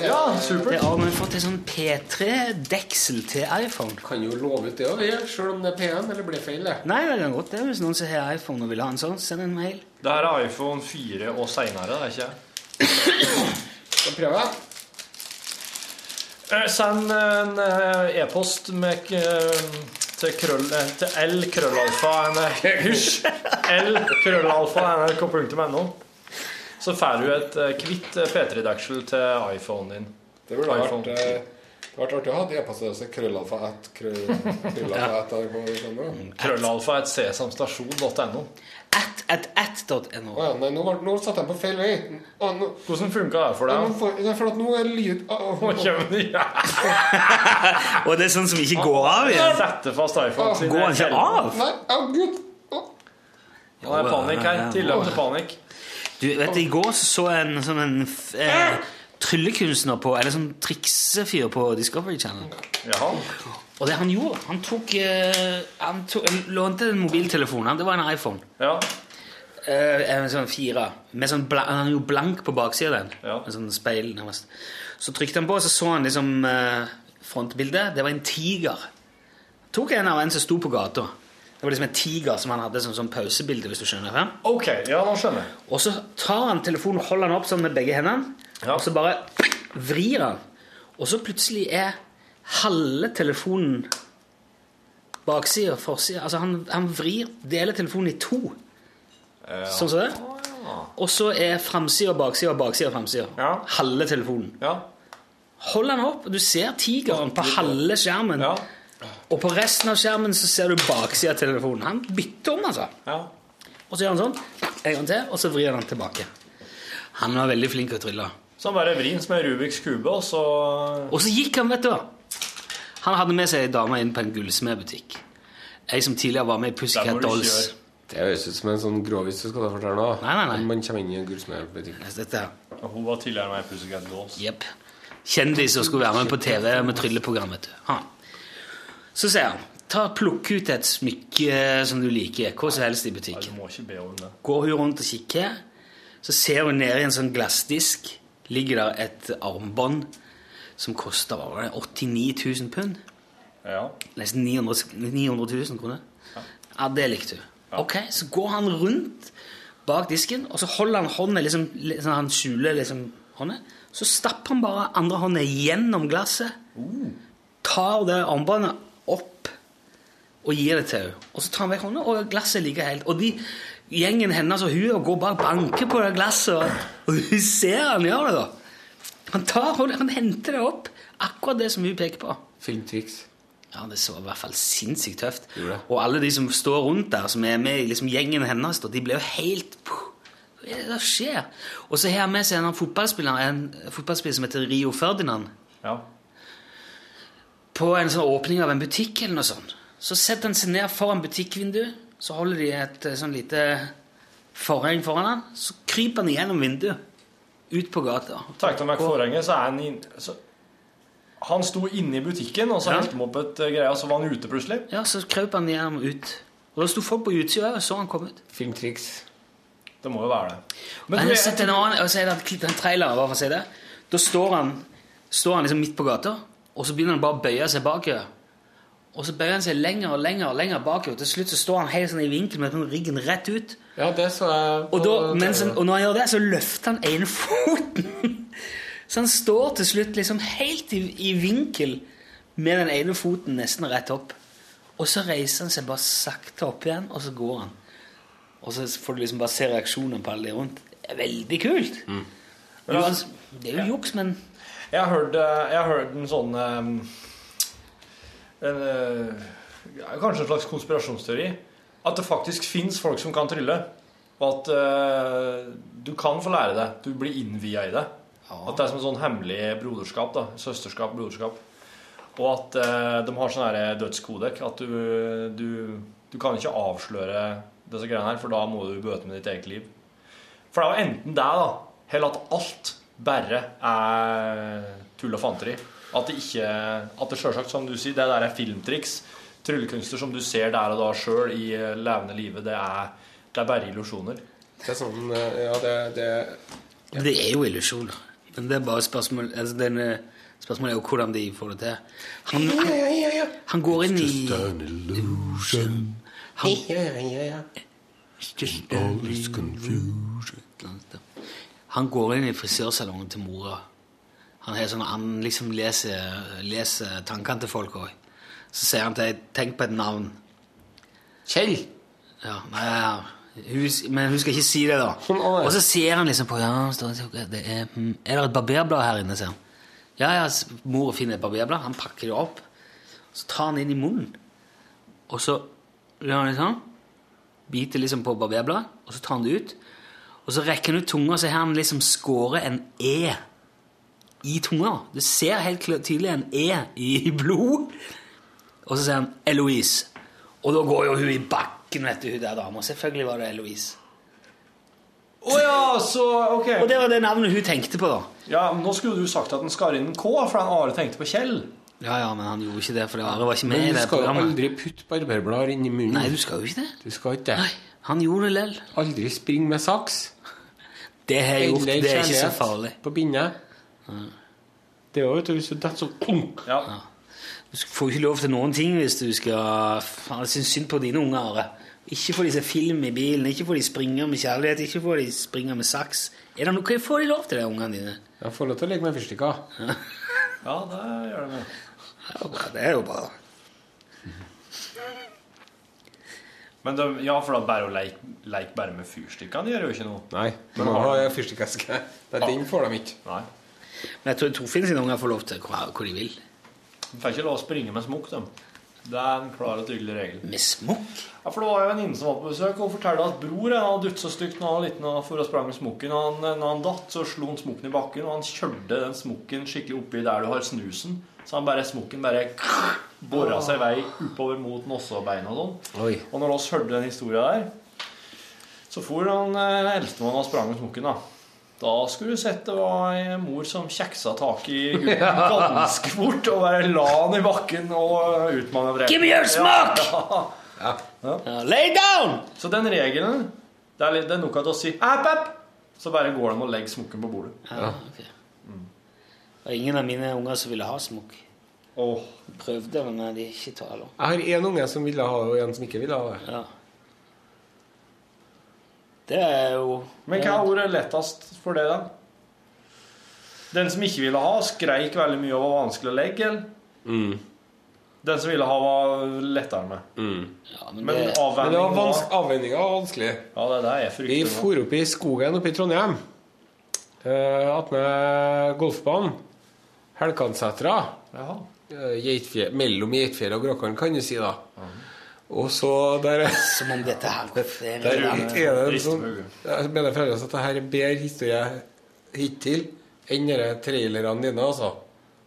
I: Ja, supert.
A: Det er Arne har fått en sånn P3-deksel til iPhone.
B: Kan jo love ut det òg, sjøl om det er P1 eller blir feil, det.
A: Nei, det kan godt det. Hvis noen som har iPhone og vil ha en sånn, send en mail.
I: Det her er iPhone 4 og seinere, det er ikke
B: Skal prøve.
I: Eh, Send en eh, e-post med k- eh, til, krøll, eh, til l krøllalfa n- Hysj! l krøllalfa nrk.no. Så får du et eh, kvitt eh, P3-deksel til iPhonen din.
B: Det burde ha vært
I: iPhone.
B: eh, Det hadde vært artig å ha det e-postadresse krøllalfa ett krøll- krøllalfa ett der på Sandra.
I: Krøllalfa er et sesamstasjon.no.
A: At, at, at.no.
B: Å ja, nei, nå, var, nå satte jeg på feil vei. Å, nå,
I: Hvordan funka det for
B: ja,
I: deg?
B: nå får- nei, for at nå er lyd Å, å,
I: Nå
B: å.
I: kommer det ja.
A: Og det er sånn som ikke går av igjen.
I: Sette fast iPhone sin.
A: Går han ikke
I: Ah!
A: av?
B: Nei, å gud. Å.
I: Nå er det panikk her. Tilløp til panikk.
A: Du, vet du, I går så så jeg en sånn en, f- eh, tryllekunstner på Eller sånn triksefyr på Discovery Channel.
I: Jaha.
A: Og det han gjorde Han tok, eh, han tok han lånte en mobiltelefon. Han, det var en iPhone.
I: Ja.
A: Eh, en sånn fire. Med sånn bla, han er jo blank på baksida av den.
I: Ja.
A: Med sånn speil nærmest. Så trykte han på, og så så han liksom eh, frontbildet. Det var en tiger. Tok en av en som sto på gata. Det var liksom en tiger som han hadde som sånn pausebilde. hvis du skjønner det.
I: Ok, ja, nå skjønner jeg.
A: Og så tar han telefonen, holder han opp sånn med begge hendene,
I: Ja.
A: og så bare vrir han. Og så plutselig er halve telefonen baksida, forsida Altså han, han vrir, deler telefonen i to. Sånn som det. Og så er framsida, baksida, baksida, framsida.
I: Ja.
A: Halve telefonen.
I: Ja.
A: Hold han opp, og du ser tigeren på halve skjermen.
I: Ja.
A: Og på resten av skjermen så ser du baksida av telefonen. Han bytter om, altså.
I: ja.
A: Og så gjør han sånn, en gang til, og så vrir han den tilbake. Han var veldig flink til å trylle.
I: Så han bare vrir den som en Rubiks kube, og så
A: Og så gikk han, vet du hva. Han hadde med seg ei dame inn på en gullsmedbutikk. Ei som tidligere var med i
I: Der må
A: Pussycat
I: du
A: Dolls.
I: kjøre.
B: Det høres ut som en sånn gråvis du skal da fortelle nå.
A: Nei, nei, nei.
B: Men Man kommer inn i en gullsmedbutikk.
A: Dette,
I: Hun var tidligere meg i Pussycat Dolls.
A: jepp. Kjendis som skulle være med på TV med trylleprogram, vet du. Ha. Så sier han, ta plukk ut et smykke som du liker, hva som helst i
I: Nei, Du
A: butikken.
I: må ikke be om det.
A: Går hun rundt og kikker, så ser hun ned i en sånn glassdisk ligger der et armbånd som koster hva var det, 89 000 pund. Nesten 900, 900 000 kroner. Ja, det likte du. Ok, Så går han rundt bak disken, og så holder han hånda liksom, litt sånn, Han skjuler liksom hånda. Så stapper han bare andre hånda gjennom glasset, Uh. tar det armbåndet opp og gir det til henne. Og så tar han vekk hånda, og glasset ligger helt. Og de, gjengen hennes og hun og går bare og banker på det glasset, og- og hun ser han gjør det, da. Han tar hånda, han henter det opp. Akkurat det som hun peker på. Filmtriks. Ja, det så i hvert fall sinnssykt tøft. Og alle de som står rundt der, som er med i liksom gjengen hennes, da, de ble jo helt Hva er det som skjer? Og så har han med seg en annen fotballspiller, en fotballspiller som heter Rio Ferdinand. På en sånn åpning av en butikk eller noe sånt. Så setter han seg ned foran butikkvinduet, så holder de et eh, sånn lite forheng foran han, så kryper han gjennom vinduet. Ut på gata.
I: Takk til meg forhenget, så er han inn, så, Han sto inne i butikken, og så
A: Ja.
I: helte han opp et eh, greie, og så var han ute plutselig.
A: Ja, så krøp han gjennom ut. Og da sto folk på utsida og så han kom ut. Filmtriks.
I: Det må jo være det.
A: Men
I: Men du,
A: jeg
I: jeg-
A: har sett en annen og så er det klipp- en trailer, bare for å si det. Da står han, står han liksom midt på gata, og så begynner han bare å bøye seg bakover. Og så bøyer han seg lenger og lenger og lenger bakover. Til slutt så står han helt sånn i vinkel med sånn ryggen rett ut. Ja, det så jeg og, da, mens han, og når han gjør det, så løfter han ene foten. Så han står til slutt liksom helt i, i vinkel med den ene foten nesten rett opp. Og så reiser han seg bare sakte opp igjen, og så går han. Og så får du liksom bare se reaksjonen på alle de rundt. Det er veldig kult!
I: Men
A: Jo,
I: altså-
A: det er jo juks, men
I: Jeg har hørt, eh, jeg har hørt en sånn eh, en, eh, ja, Kanskje en slags konspirasjonsteori. At det faktisk fins folk som kan trylle. Og at eh, du kan få lære det. Du blir innvia i det. At det er som en sånn hemmelig broderskap. da Søsterskap, broderskap. Og at eh, de har sånn her dødskodek. At du, du, du kan ikke avsløre disse greiene her, for da må du bøte med ditt eget liv. For det er jo enten det, da, eller at alt bare er tull og fanteri. At det ikke At det selvsagt, som du sier, det der er filmtriks. Tryllekunster som du ser der og da sjøl i eh, levende live, det er, det er bare illusjoner.
C: Det er sånn eh, Ja, det, det
A: Men Det er jo illusjoner. Men det er bare spørsmål altså den, eh, Spørsmålet er jo hvordan de får det til. Han, han, han går inn i Han, Han går inn i frisørsalongen til mora. Han, er sånn, han liksom leser, leser tankene til folk òg. Så sier han til henne 'tenk på et navn'. Kjell? Ja, nei, ja. Hun, s- men hun skal ikke si det, da. Og så ser han liksom på ja, står det, det er, mm, 'Er det et barberblad her inne?' sier han. Ja, ja, s- mor finner et barberblad. Han pakker det opp. Så tar han det inn i munnen. Og så gjør han litt sånn. Biter liksom på barberbladet, og så tar han det ut. Og så rekker han ut tunga, så har han liksom skåret en E i tunga. Du ser helt kl- tydelig en E i blod. Og så sier han 'Eloise'. Og da går jo hun i bakken, vet du, hun der dama. Selvfølgelig var det Eloise.
I: Å ja, så ok.
A: Og det var det navnet hun tenkte på, da.
I: Ja, men Nå skulle du sagt at den skar inn en K, for den Are tenkte på Kjell.
A: Ja, ja, men han gjorde ikke det, for Are var ikke med
I: Men
A: i
I: du
A: det
I: skal jo
A: programmet.
C: Aldri putt barberblader inn i munnen.
A: Nei, du skal jo ikke det.
C: Du skal ikke det.
A: han gjorde det lell.
C: Aldri spring med saks.
A: Det har jeg gjort.
C: Eller
A: Det er ikke så
C: kjærlighet
A: farlig.
C: På bindet. Det var jo til hvis du detter sånn klunk.
A: Ja. Du sk- får jo ikke lov til noen ting hvis du skal Faen, jeg syns synd på dine unger, Are. Ikke få de se film i bilen, ikke få de springe med kjærlighet, ikke få de springe med saks. Er det noe Får de lov til det, ungene dine?
C: Jeg får lov til å legge meg i fyrstikka.
I: Ja, det gjør det.
A: Det er jo bra.
I: Men de, ja, for da bare å leke leke bare med fyrstikkene det gjør jo ikke noe.
C: Nei, de
I: Men
C: har
I: har-
C: fyrstikkeske. Nei, Den får de ikke.
I: Nei.
A: Men jeg tror Torfinn sine unger får lov til hva, hvor de vil.
I: De får ikke lov å springe med smokk, de. Det er en klar og tydelig regel.
A: Med smokk?
I: Ja, for Det var jo en venninne som var på besøk og fortalte at bror han hadde dutt så stygt når han var liten og for og sprang med smokken. Og han, når han datt, så slo han smokken i bakken, og han kjørte den smokken skikkelig oppi der du har snusen. Så han bare, smokken bare bora seg i vei oppover mot nossebeina og sånn.
C: Oi.
I: Og når oss hørte den historien der, så for han eh, eldstemann og sprang med smokken, da. Da skulle du sett det var ei mor som kjeksa tak i gutten
H: Ja.
I: ganske fort og bare la han i bakken og utmanøvrerte.
H: Give me your smock!
I: Ja, ja.
A: Lay down!
I: Så den regelen Det er, litt, det er nok at å si app, app, Så bare går de og legger smokken på bordet.
A: Ja, ok. Og ingen av mine unger som ville ha smokk.
I: Oh.
A: Prøvde, men nei, de er ikke tale om.
C: Jeg har én unge som ville ha det, og en som ikke ville ha det.
A: Ja. Det er jo
I: Men hva er ordet lettest for det, da? Den som ikke ville ha, skreik veldig mye og var vanskelig å legge. eller?
C: Mm.
I: Den som ville ha, var lettere med.
A: mm. men
I: Men
C: det-
I: avveininga
C: Mm. Men det var vans-
I: var vanskelig. Ja, det er det jeg
C: Vi
I: frykter. nå.
C: for opp i skogen oppe i Trondheim. Uh, Attmed golfbanen. Helkansetra. Eh, Geitfje- mellom Geitfjell og Gråkan, kan du si, da. Og så der
A: Som om dette her
C: Der er det en sånn Jeg mener fremdeles at det her er bedre historie hittil enn de trailerne dine, altså.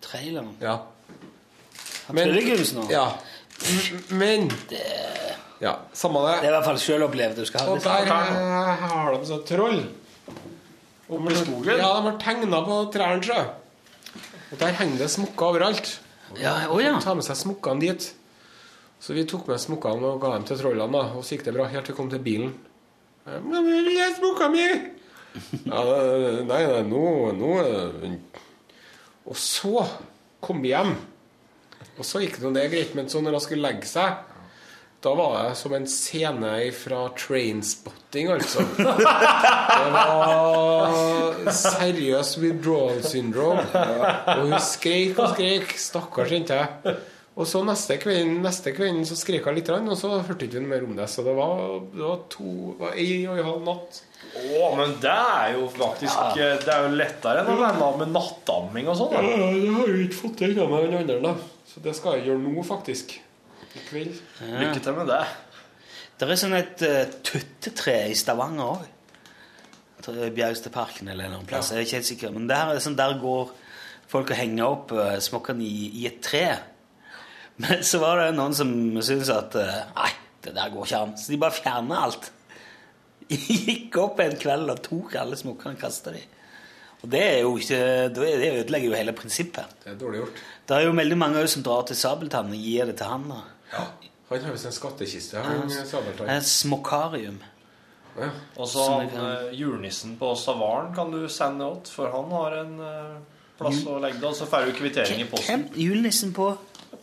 A: Traileren?
C: Ja.
A: Han tryllekunstner?
C: Ja. Men Ja, samme det.
A: Det er i hvert fall selvopplevd. Du skal ha
C: Og
A: det.
C: der eh, har de sånn troll. Oppe i skogen? Ja, de har tegna på trærne. sjø. Og der henger det smokker overalt.
A: Ja, å ja.
C: Ta med seg smokkene dit. Så vi tok med smokkene og ga dem til trollene. da, Og så gikk det bra helt til vi kom til bilen. Eh, Men vi vil ha smokka mi! Ja, det- nei, nei, nå, nå er det- Og så kom vi hjem. Og så gikk det noe, det er greit, men så når hun skulle legge seg da var det som en scene fra Trainspotting, altså. Det var seriøs withdrawal syndrome. Og hun skreik og skreik. Stakkars jente. Og så neste kvelden, neste kvelden så skrek hun litt, grann, og så hørte ikke hun mer om det. Så det var, det var to var ei og en halv natt.
I: Å, men det er jo faktisk eh, Det er jo lettere enn å være med med nattamming og sånn. da.
C: det har jo ikke fått til med den andre, da. Så det skal jeg gjøre nå, faktisk. I kveld.
I: Lykke til med det.
A: Det er sånn et eh, tuttetre i Stavanger òg. Bjergstadparken eller noen plass. Jeg er ikke helt sikker. Men der, er det sånn, der går folk og henger opp uh, smokkene i, i et tre. Men så var det noen som syntes at eh, Nei, det der går ikke an. Så de bare fjerna alt. Gikk opp en kveld og tok alle smokkene og kasta dem. Og det er jo ikke Det det ødelegger jo hele prinsippet.
C: Det er dårlig gjort.
A: Det er jo veldig mange også som drar til Sabeltann og gir det til han. da.
C: Han har visst en skattkiste.
A: Ja,
C: Han,
A: s-
C: Sabeltann.
A: eh, Smokkarium.
I: Og så
A: Som
I: han,
A: vi kan-
I: eh, julenissen på Savaren kan du sende åt, for han har en eh, plass å legge deg, og så får du kvittering i posten.
A: Hvem? Julenissen på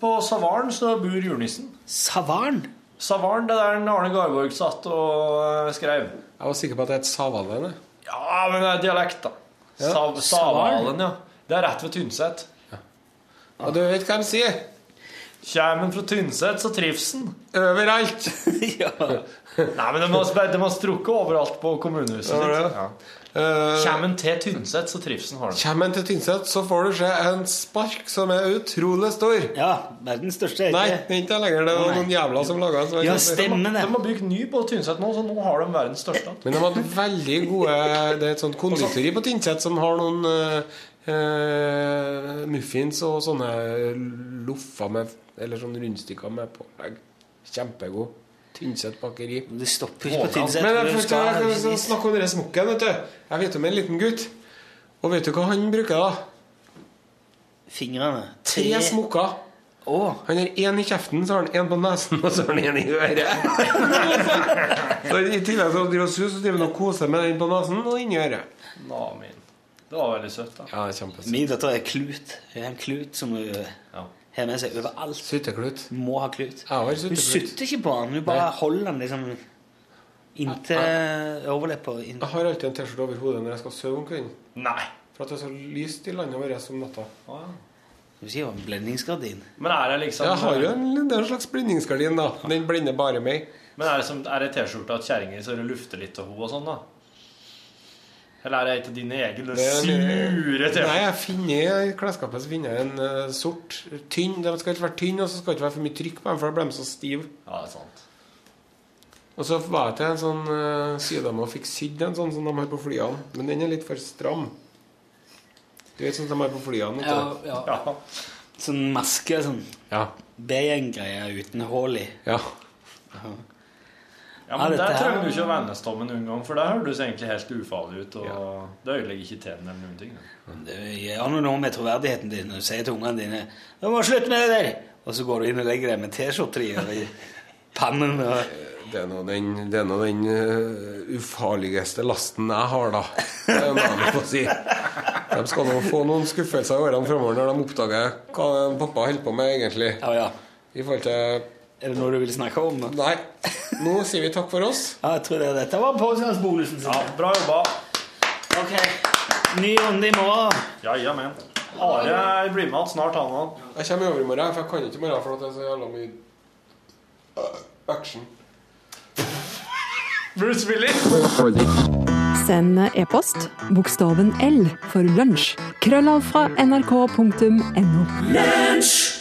I: På Savaren så bor julenissen.
A: Savaren?
I: Savaren, det er den Arne Garborg satt og eh, skrev.
C: Jeg var sikker på at det er et Savalen. jeg.
I: Ja, men det er dialekt, da.
C: Ja.
I: Sav Savalen, ja. Det er rett ved Tynset.
C: Og du vet hva de sier?
I: Kjem en fra Tynset, så trives en.
C: Overalt!
A: ja.
I: Nei, men de har, sp- de har strukket overalt på kommunehuset.
C: Ja, det er
I: sitt.
C: det.
I: Ja.
C: Eh,
I: Kjem en til Tynset, så trives en har den.
C: Kommer han til Tynset, så får du se en spark som er utrolig stor.
A: Ja, verdens største.
C: Nei, det er ikke det lenger. Det var
A: Å, nei.
C: noen jævla som laga den.
A: Ja, stemmer det.
I: De har bygd ny på Tynset nå, så nå har de verdens største.
C: Men de hadde veldig gode Det er et sånt konditori på Tynset som har noen eh, eh, muffins og sånne loffer med Eller sånne rundstykker med pålegg. Kjempegod. Tynset bakeri.
A: Du stopper ikke på Tynset.
C: Men
A: for
C: jeg
A: du
C: først,
A: skal
C: jeg,
A: ha
C: jeg, jeg
A: julenissen.
C: snakke om den smokken, vet du. Jeg vet om en liten gutt. Og vet du hva han bruker, da?
A: Fingrene.
C: Tre smokker.
A: Å.
C: Han har én i kjeften, så har han én på nesen, og så har han én i øret. så I tillegg til å drive og sus, så driver han og koser med den på nesen og inni øret.
I: Nå, min. Det var veldig søtt, da.
C: Ja, det er kjempesøtt.
A: Min datter er klut. Hun er en klut som hun eh, har med seg overalt.
C: Sutteklut.
A: Må ha klut.
C: Jeg har
A: Hun
C: sutteklut.
A: sutter ikke på den. Hun bare holder den liksom inntil overleppa. og inn-
C: Jeg har alltid en T-skjorte over hodet når jeg skal sove om kvelden.
I: Nei.
C: For at det er så lyst i landet vårt om natta.
I: Å, ja.
A: Du sier jo en blendingsgardin.
I: Men er det liksom
C: Jeg har jo en, det er en slags blendingsgardin, da. Den blender bare meg.
I: Men er det, som, er det T-skjorta at kjerringer så det lufter litt av henne og sånn, da? Eller er det ikke dine egne
C: Det er en-
I: sure
C: Nei,
I: T-skjorter?
C: jeg finner i klesskapet så finner jeg en eh, sort, tynn Den skal ikke være tynn, og så skal det ikke være for mye trykk på den, for da blir de så stiv.
I: Ja, det er sant.
C: Og så var jeg til en sånn uh, sydame og fikk sydd en sånn som de har på flyene. Men den er litt for stram. Du vet sånn som de har på flyene.
A: Ja,
C: vet du.
A: ja.
I: Ja.
A: Sånn maske, sånn
C: Ja.
A: B-gjeng-greier uten hull i.
C: ja.
I: ja,
A: Ja,
I: men
A: dette
I: Der
A: her-
I: trenger du ikke å vennes Tom en gang, for der høres du egentlig helt ufarlig ut. Og det ødelegger ikke tennene eller noen ting. da.
A: Det gjør noe med troverdigheten din når du sier til ungene dine 'Du må slutte med det der!' Og så går du inn og legger deg med T-skjorte i og i pannen og
C: Det er nå den, det er nå den eh, ufarligste lasten jeg har, da. Det må jeg nå få si. De skal nå få noen skuffelser i årene framover når de oppdager hva pappa holder på med, egentlig. I forhold til
A: Er det noe du vil snakke om?
C: Nei. Nå sier vi takk for oss.
A: Ja, jeg tror det. Dette var påskedagsbonusen.
I: Ja, bra jobba.
A: Ok. Ny runde i morgen.
I: Ja, ja, men. Are blir med igjen snart, han òg.
C: Jeg kommer i overmorgen, for jeg kan ikke i morgen, for at det er så jævla mye øh, action.
I: Bruce Willis.
F: Send e-post bokstaven L for lunsj. Krøllalfra nrk.no.
E: Lunsj!